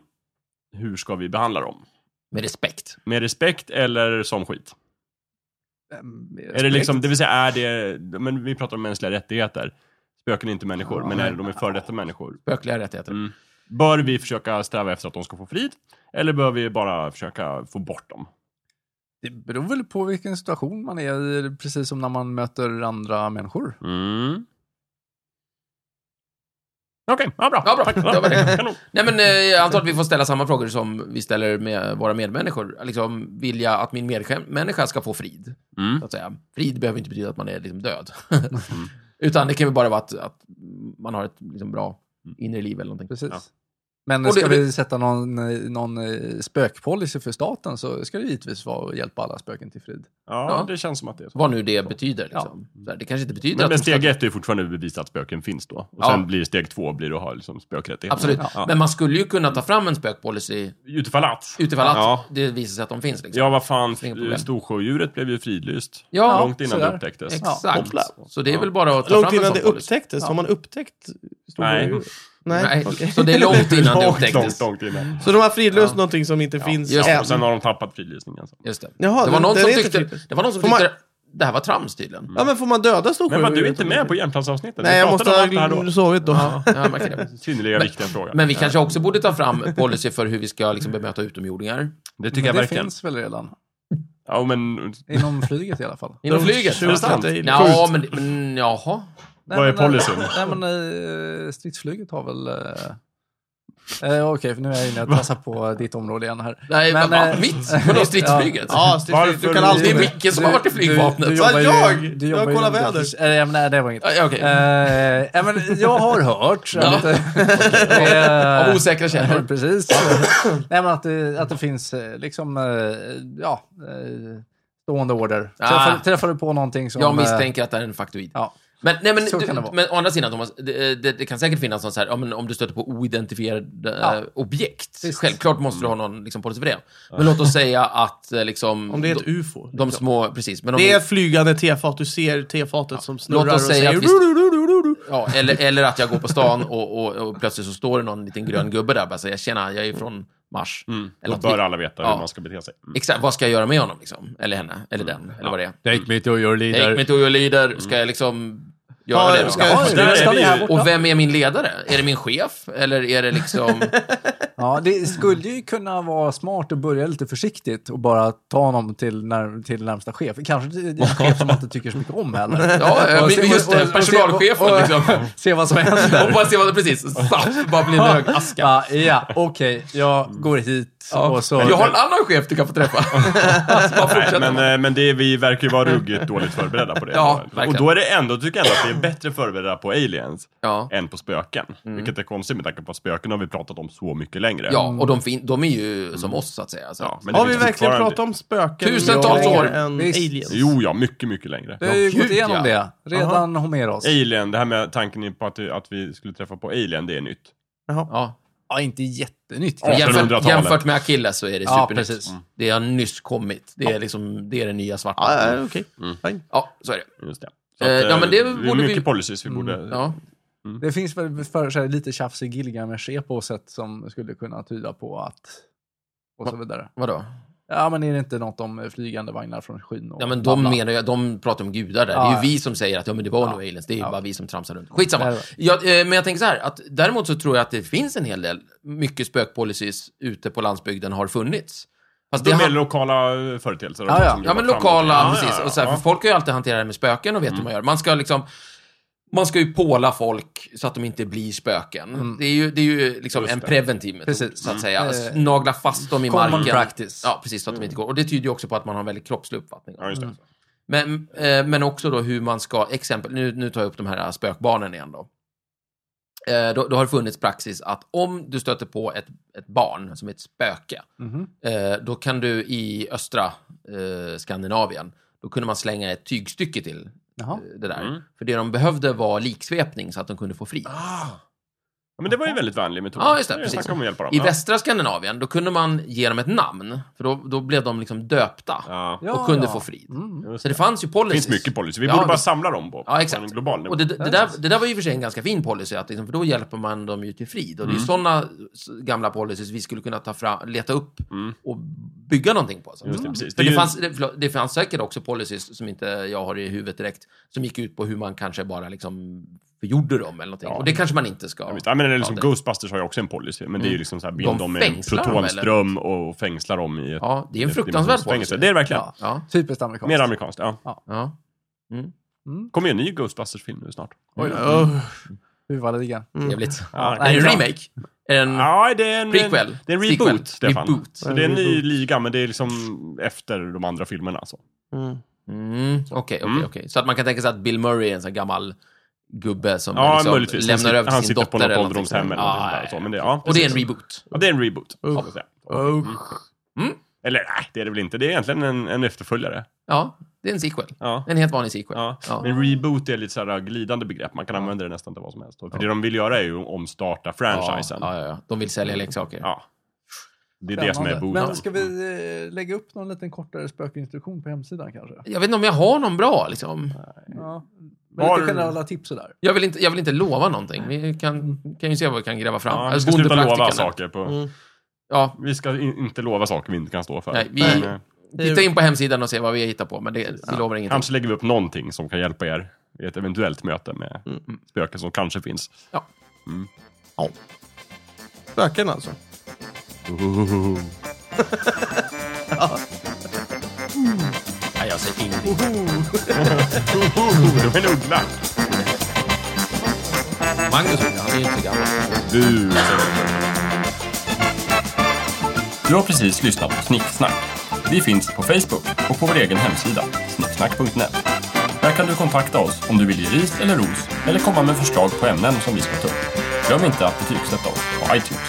hur ska vi behandla dem?
Med respekt.
Med respekt eller som skit?
Ehm,
Är det liksom, det vill säga är det, men vi pratar om mänskliga rättigheter. Spöken är inte människor, men är det, de är före detta människor.
Spökliga rättigheter.
Mm. Bör vi försöka sträva efter att de ska få frid? Eller bör vi bara försöka få bort dem?
Det beror väl på vilken situation man är i, precis som när man möter andra människor.
Mm. Okej, ja, bra.
Ja, bra.
Tack.
Det var det.
Kanon.
Nej, men eh, jag antar att vi får ställa samma frågor som vi ställer med våra medmänniskor. Liksom, vill jag att min medmänniska ska få frid?
Mm.
så att säga. Frid behöver inte betyda att man är liksom död.
Mm.
Utan det kan ju bara vara att, att man har ett liksom, bra inre liv eller någonting.
Precis.
Ja.
Men
Och det-
ska vi sätta någon, eh, någon eh, spökpolicy för staten så ska det givetvis vara att hjälpa alla spöken till frid.
Ja,
Ja.
det känns som att det är så.
Vad nu det betyder. Liksom. Så här, det kanske inte betyder
Men,
att...
men
de ska-
steg ett är fortfarande att bevisa att spöken finns då. Och
Ja.
sen blir steg två blir att ha liksom spökrättigheter.
Absolut.
Ja.
Men man skulle ju kunna ta fram en spökpolicy
Utifall att.
utifall att
Ja.
det visar sig att de finns. Liksom.
Ja, vad fan.
Inga problem.
Storsjödjuret blev ju fridlyst.
Ja,
Långt innan
sådär.
det upptäcktes.
Exakt.
Ja.
Så det är
Ja.
väl bara att ta
Långt
fram en
innan
sån
det
policy.
upptäcktes. Har man upptäckt? stora
Nej.
djur? Nej.
Nej,
okej.
Så det är långt innan det
Långt,
upptäcktes.
Långt, långt innan.
Så de har fridlöst
Ja.
någonting som inte finns
just det.
Och sen
än.
har de tappat fridlysningen. sen.
Just det.
Jaha,
det, var
den-
någon
den
som
är inte
tyckte,
fri-
det var någon som
Får man-
tyckte det här var trams tydligen.
Mm.
Ja, men får man döda storsjödjur?
Men var du inte
utan-
med på Jämtlandsavsnittet?
Nej,
Vi
jag måste
pratade
ha
om allt det här
gl- sovit då.
Ja, jag märker det.
då. Synnerligen viktiga fråga.
Men vi kanske också borde ta fram policy för hur vi ska liksom bemöta utomjordingar.
det
Men
tycker jag
det
verkligen.
finns väl redan.
Ja, men
Inom flyget i alla fall.
Inom
De
flyget?
skjuter
Är det sant?
dig.
Ja, men, men jaha.
Nej,
Vad är
men, eh,
policyn?
Nej, men eh, stridsflyget har väl... Eh, eh, Okej, för nu är jag inne och tassar på ditt område igen här.
Nej,
Men,
men, va,
eh,
mitt? Vadå, stridsflyget?
Ja, Stig,
Varför-
du kan
Det
alltid...
är Micke som har varit i flygvapnet.
Du, du
Vad
jobbar ju,
jag?
Du
Jag
jobbar ju
kollar
under-
vädret.
Eh, nej, det var inget.
Ja, ja, okej.
Eh, ja, men jag har hört
Ja.
att, eh,
Av osäkra
Ja,
källor.
precis. Nej, men att det, att det finns eh, liksom, eh, ja, eh, stående order.
Ah.
Träffar, träffar du på någonting som...
Jag
eh,
misstänker att det är en faktoid.
Ja,
Men, nej, men,
Så
du,
kan det vara.
men å andra sidan, Thomas, det, eh, det, det kan säkert finnas någon så här, ja, men om du stöter på oidentifierade eh,
Ja.
objekt.
Visst.
Självklart måste du ha någon liksom, policy för det. Men låt oss säga att eh, liksom...
Mm. Om det är ett
de,
ufo. liksom.
de små, precis. Men om
Det
vi-
är ett flygande tefat. Du ser tefatet som snurrar
Låt oss
och
säga
säger...
att vi-
"Ru, ru, ru, ru, ru."
Ja, eller, eller att jag går på stan och, och, och plötsligt så står det någon liten
Mm.
grön gubbe där och bara säger tjena, jag är från Mars.
Mm.
Eller
Då
att
bör
vi-
alla veta
Ja.
hur man ska bete sig. Mm.
Exakt, vad ska jag göra med honom liksom? Eller henne, eller
Mm.
den, eller vad det är.
Take me to your
Take
leader.
me to your leader, ska jag liksom göra
Ja,
det? då?
ska-
ja
där är
stanna
vi ju-
här borta.
Och vem är min ledare? Är det min chef? Eller är det liksom...
Ja, det skulle ju kunna vara smart att börja lite försiktigt och bara ta honom till, när, till närmsta chef. Kanske till en chef som man inte tycker så mycket om heller.
Ja,
Och
men
se-
just
och-
det.
och-
Personalchefen
och- och-
liksom.
Se vad som händer.
Hoppas det var precis. Saff, bara blir en hög Alltså, aska.
Ja, ja okej. Jag går hit
Ja.
och så...
Jag har en annan chef du kan få träffa. Alltså, bara
Nej,
fortsätt.
men eh, men det, vi verkar ju vara ruggigt dåligt förberedda på det.
Ja,
och
verkligen.
då är det ändå, tycker jag ändå att vi är bättre förberedda på aliens
ja. Mm.
än på spöken. Vilket är konstigt med tanke på att spöken har vi pratat om så mycket längre.
ja, och de, fin- de är ju som oss så att säga. Alltså, Så.
Mm. Ja,
Ja,
men det
Har vi
finns
verkligen
fortfarande-
pratat om spöken
Tusentals
längre
år.
än
Visst.
aliens?
Jo, ja, mycket, mycket längre.
Vi har ju
Ja,
gått
gud,
igenom
ja.
det. Redan Homeros.
Alien, det här med tanken på att, att vi skulle träffa på alien, det är nytt.
Jaha.
Ja, inte jättenytt.
Men Jämfört,
1800-talet.
jämfört med Achilles så är det
Ja,
supernytt.
precis.
Det har nyss kommit. Det är, liksom, det, är det nya svarta.
Ja, ja, okej.
Ja, så är det.
Just det.
Eh, ja, men det
vi-
borde vi- Mm,
mycket policies vi borde...
Ja.
Det finns väl för, så här, lite tjafs i Gilgamesh på sätt som skulle kunna tyda på att... Och så vidare.
Vadå?
Ja, men är det inte något om eh, flygande vagnar från skyn? och
Ja, men
bla,
de
bla?
menar ju, de pratar om gudar där.
Ja,
det är
ja.
ju vi som säger att ja, men det var nog aliens. Det är ju
Ja.
bara vi som tramsar runt. Skitsamma.
Det är det.
Ja, eh, men jag tänker så här, att däremot så tror jag att det finns en hel del, mycket spökpolicies ute på landsbygden har funnits. Fast
De
det
mer
han-
lokala eh, företeelser.
Ja, ja.
Som
Ja, men
jobbar
lokala,
framåt. Ja,
precis.
ja,
Och så här,
ja. Mm.
För folk har ju alltid hanterat det här med spöken och vet hur man gör. Man ska liksom... Man ska ju påla folk så att de inte blir spöken. Det är ju, det är ju liksom
Just
en
det.
preventiv metod,
Mm. Precis.
så att säga.
Eh,
Nagla fast dem i
common
marken.
practice.
Ja, precis. Så att de inte går. Och det tyder ju också på att man har en väldigt kroppslig uppfattning.
Ja, just det.
Men, eh, men också då hur man ska, exempel, nu, nu tar jag upp de här spökbarnen igen då. Eh, då, då har det funnits praxis att om du stöter på ett, ett barn som är ett spöke,
Mhm.
eh, då kan du i östra eh, Skandinavien, då kunde man slänga ett tygstycke till
Jaha.
eh, det där.
Mm.
För det de behövde var liksvepning så att de kunde få frid.
Ah,
Ja, men det var ju en väldigt vanlig metod.
Ja, just det,
är
precis.
snack om att hjälpa dem.
I
ja.
västra Skandinavien, då kunde man ge dem ett namn, för då, då blev de liksom döpta
Ja,
Ja,
och kunde
ja.
få frid.
Mm.
just
Så
det.
det fanns ju
Det
policies.
finns mycket policy. Vi
Ja,
borde bara
men-
samla dem på,
Ja,
på
exakt.
en global nivå.
Och det, det, där, det där var ju för sig en ganska fin policy, att liksom, för då hjälper man dem ju till frid. Och
Mm.
det är sådana gamla policies vi skulle kunna ta fram, leta upp
Mm.
och bygga någonting på. Så.
Just det, precis. Det
För
är
det,
ju-
fanns, det, förlåt, det fanns säkert också policies som inte jag har i huvudet direkt, som gick ut på hur man kanske bara liksom förgjorde dem eller någonting.
Ja.
Och det kanske man inte ska...
Ja, visst. Ja, men det är liksom
Ja, det- Mm.
Ghostbusters har ju också en policy, men det är ju liksom så här, bind
De
dem med en
fängslar dem, eller?
protonström och fängslar dem i ett...
Ja, det är en
ett
fruktansvärd
fängelse.
policy.
Det är det verkligen.
Ja.
Ja,
Typiskt amerikanskt.
Mer amerikanskt, ja.
ja.
kommer ju en ny Ghostbusters-film nu snart.
Oj, oh.
Huvudligan.
Trevligt.
Mm. Ja,
Är det en
bra.
remake? Är det en...
Ja, det är en...
Prequel.
Det är en
Sequel.
reboot, Stefan.
Reboot.
Så det är en ny liga, men det är liksom efter de andra filmerna. Så.
mm.
Mm, Okej, okej,
Mm.
okej. Så att man kan tänka sig att Bill Murray är en sån här gammal gubbe som
Ja,
liksom
möjligtvis. Han
lämnar
sit-
över
han
till sin
sitter på
dotter
något
eller någonting
ålderdomshem
sånt.
eller någonting där, så, men det- ja,
och det är en
precis.
reboot.
Ja, det är en reboot, så
Usch.
att säga. Mm.
Oh.
Mm.
Eller nej, det är det väl inte. Det är egentligen en, en efterföljare.
Ja, det är en sequel.
Ja.
En helt vanlig sequel.
Ja.
Ja.
Men reboot är lite sådär glidande begrepp. Man kan använda det nästan till vad som helst. För det de vill göra är ju att omstarta
Ja,
franchisen. Mm. Ja,
ja, ja. De vill sälja leksaker.
Det är det som är
Spännande.
booten.
Men ska vi eh, lägga upp någon liten kortare spökinstruktion på hemsidan kanske?
Jag vet inte om jag har någon bra, liksom.
Ja. Men
Var-
lite generella tips sådär.
Jag vill inte, jag vill inte lova någonting. Vi kan, kan ju se vad vi kan gräva fram.
Ja, vi
Alltså,
ska sluta
bondepraktikerna.
lova saker. På,
Mm.
Ja,
Vi ska in, inte lova saker vi inte kan stå för.
Nej, vi-
Men, eh,
titta in på hemsidan och se vad vi hittar på, men det, vi lovar ingenting.
kanske lägger vi upp någonting som kan hjälpa er i ett eventuellt möte med spöken som kanske finns.
Ja.
Spöken alltså.
Nej, jag säger ingenting.
Oh, det var en uggla!
Magnus, han är ju inte så gammal.
Du. Du har precis lyssnat på Snicksnack. Vi finns på Facebook och på vår egen hemsida, snicksnack.net. Där kan du kontakta oss om du vill ge ris eller ros eller komma med förslag på ämnen som vi ska ta upp. Glöm inte att betygsätta oss på iTunes.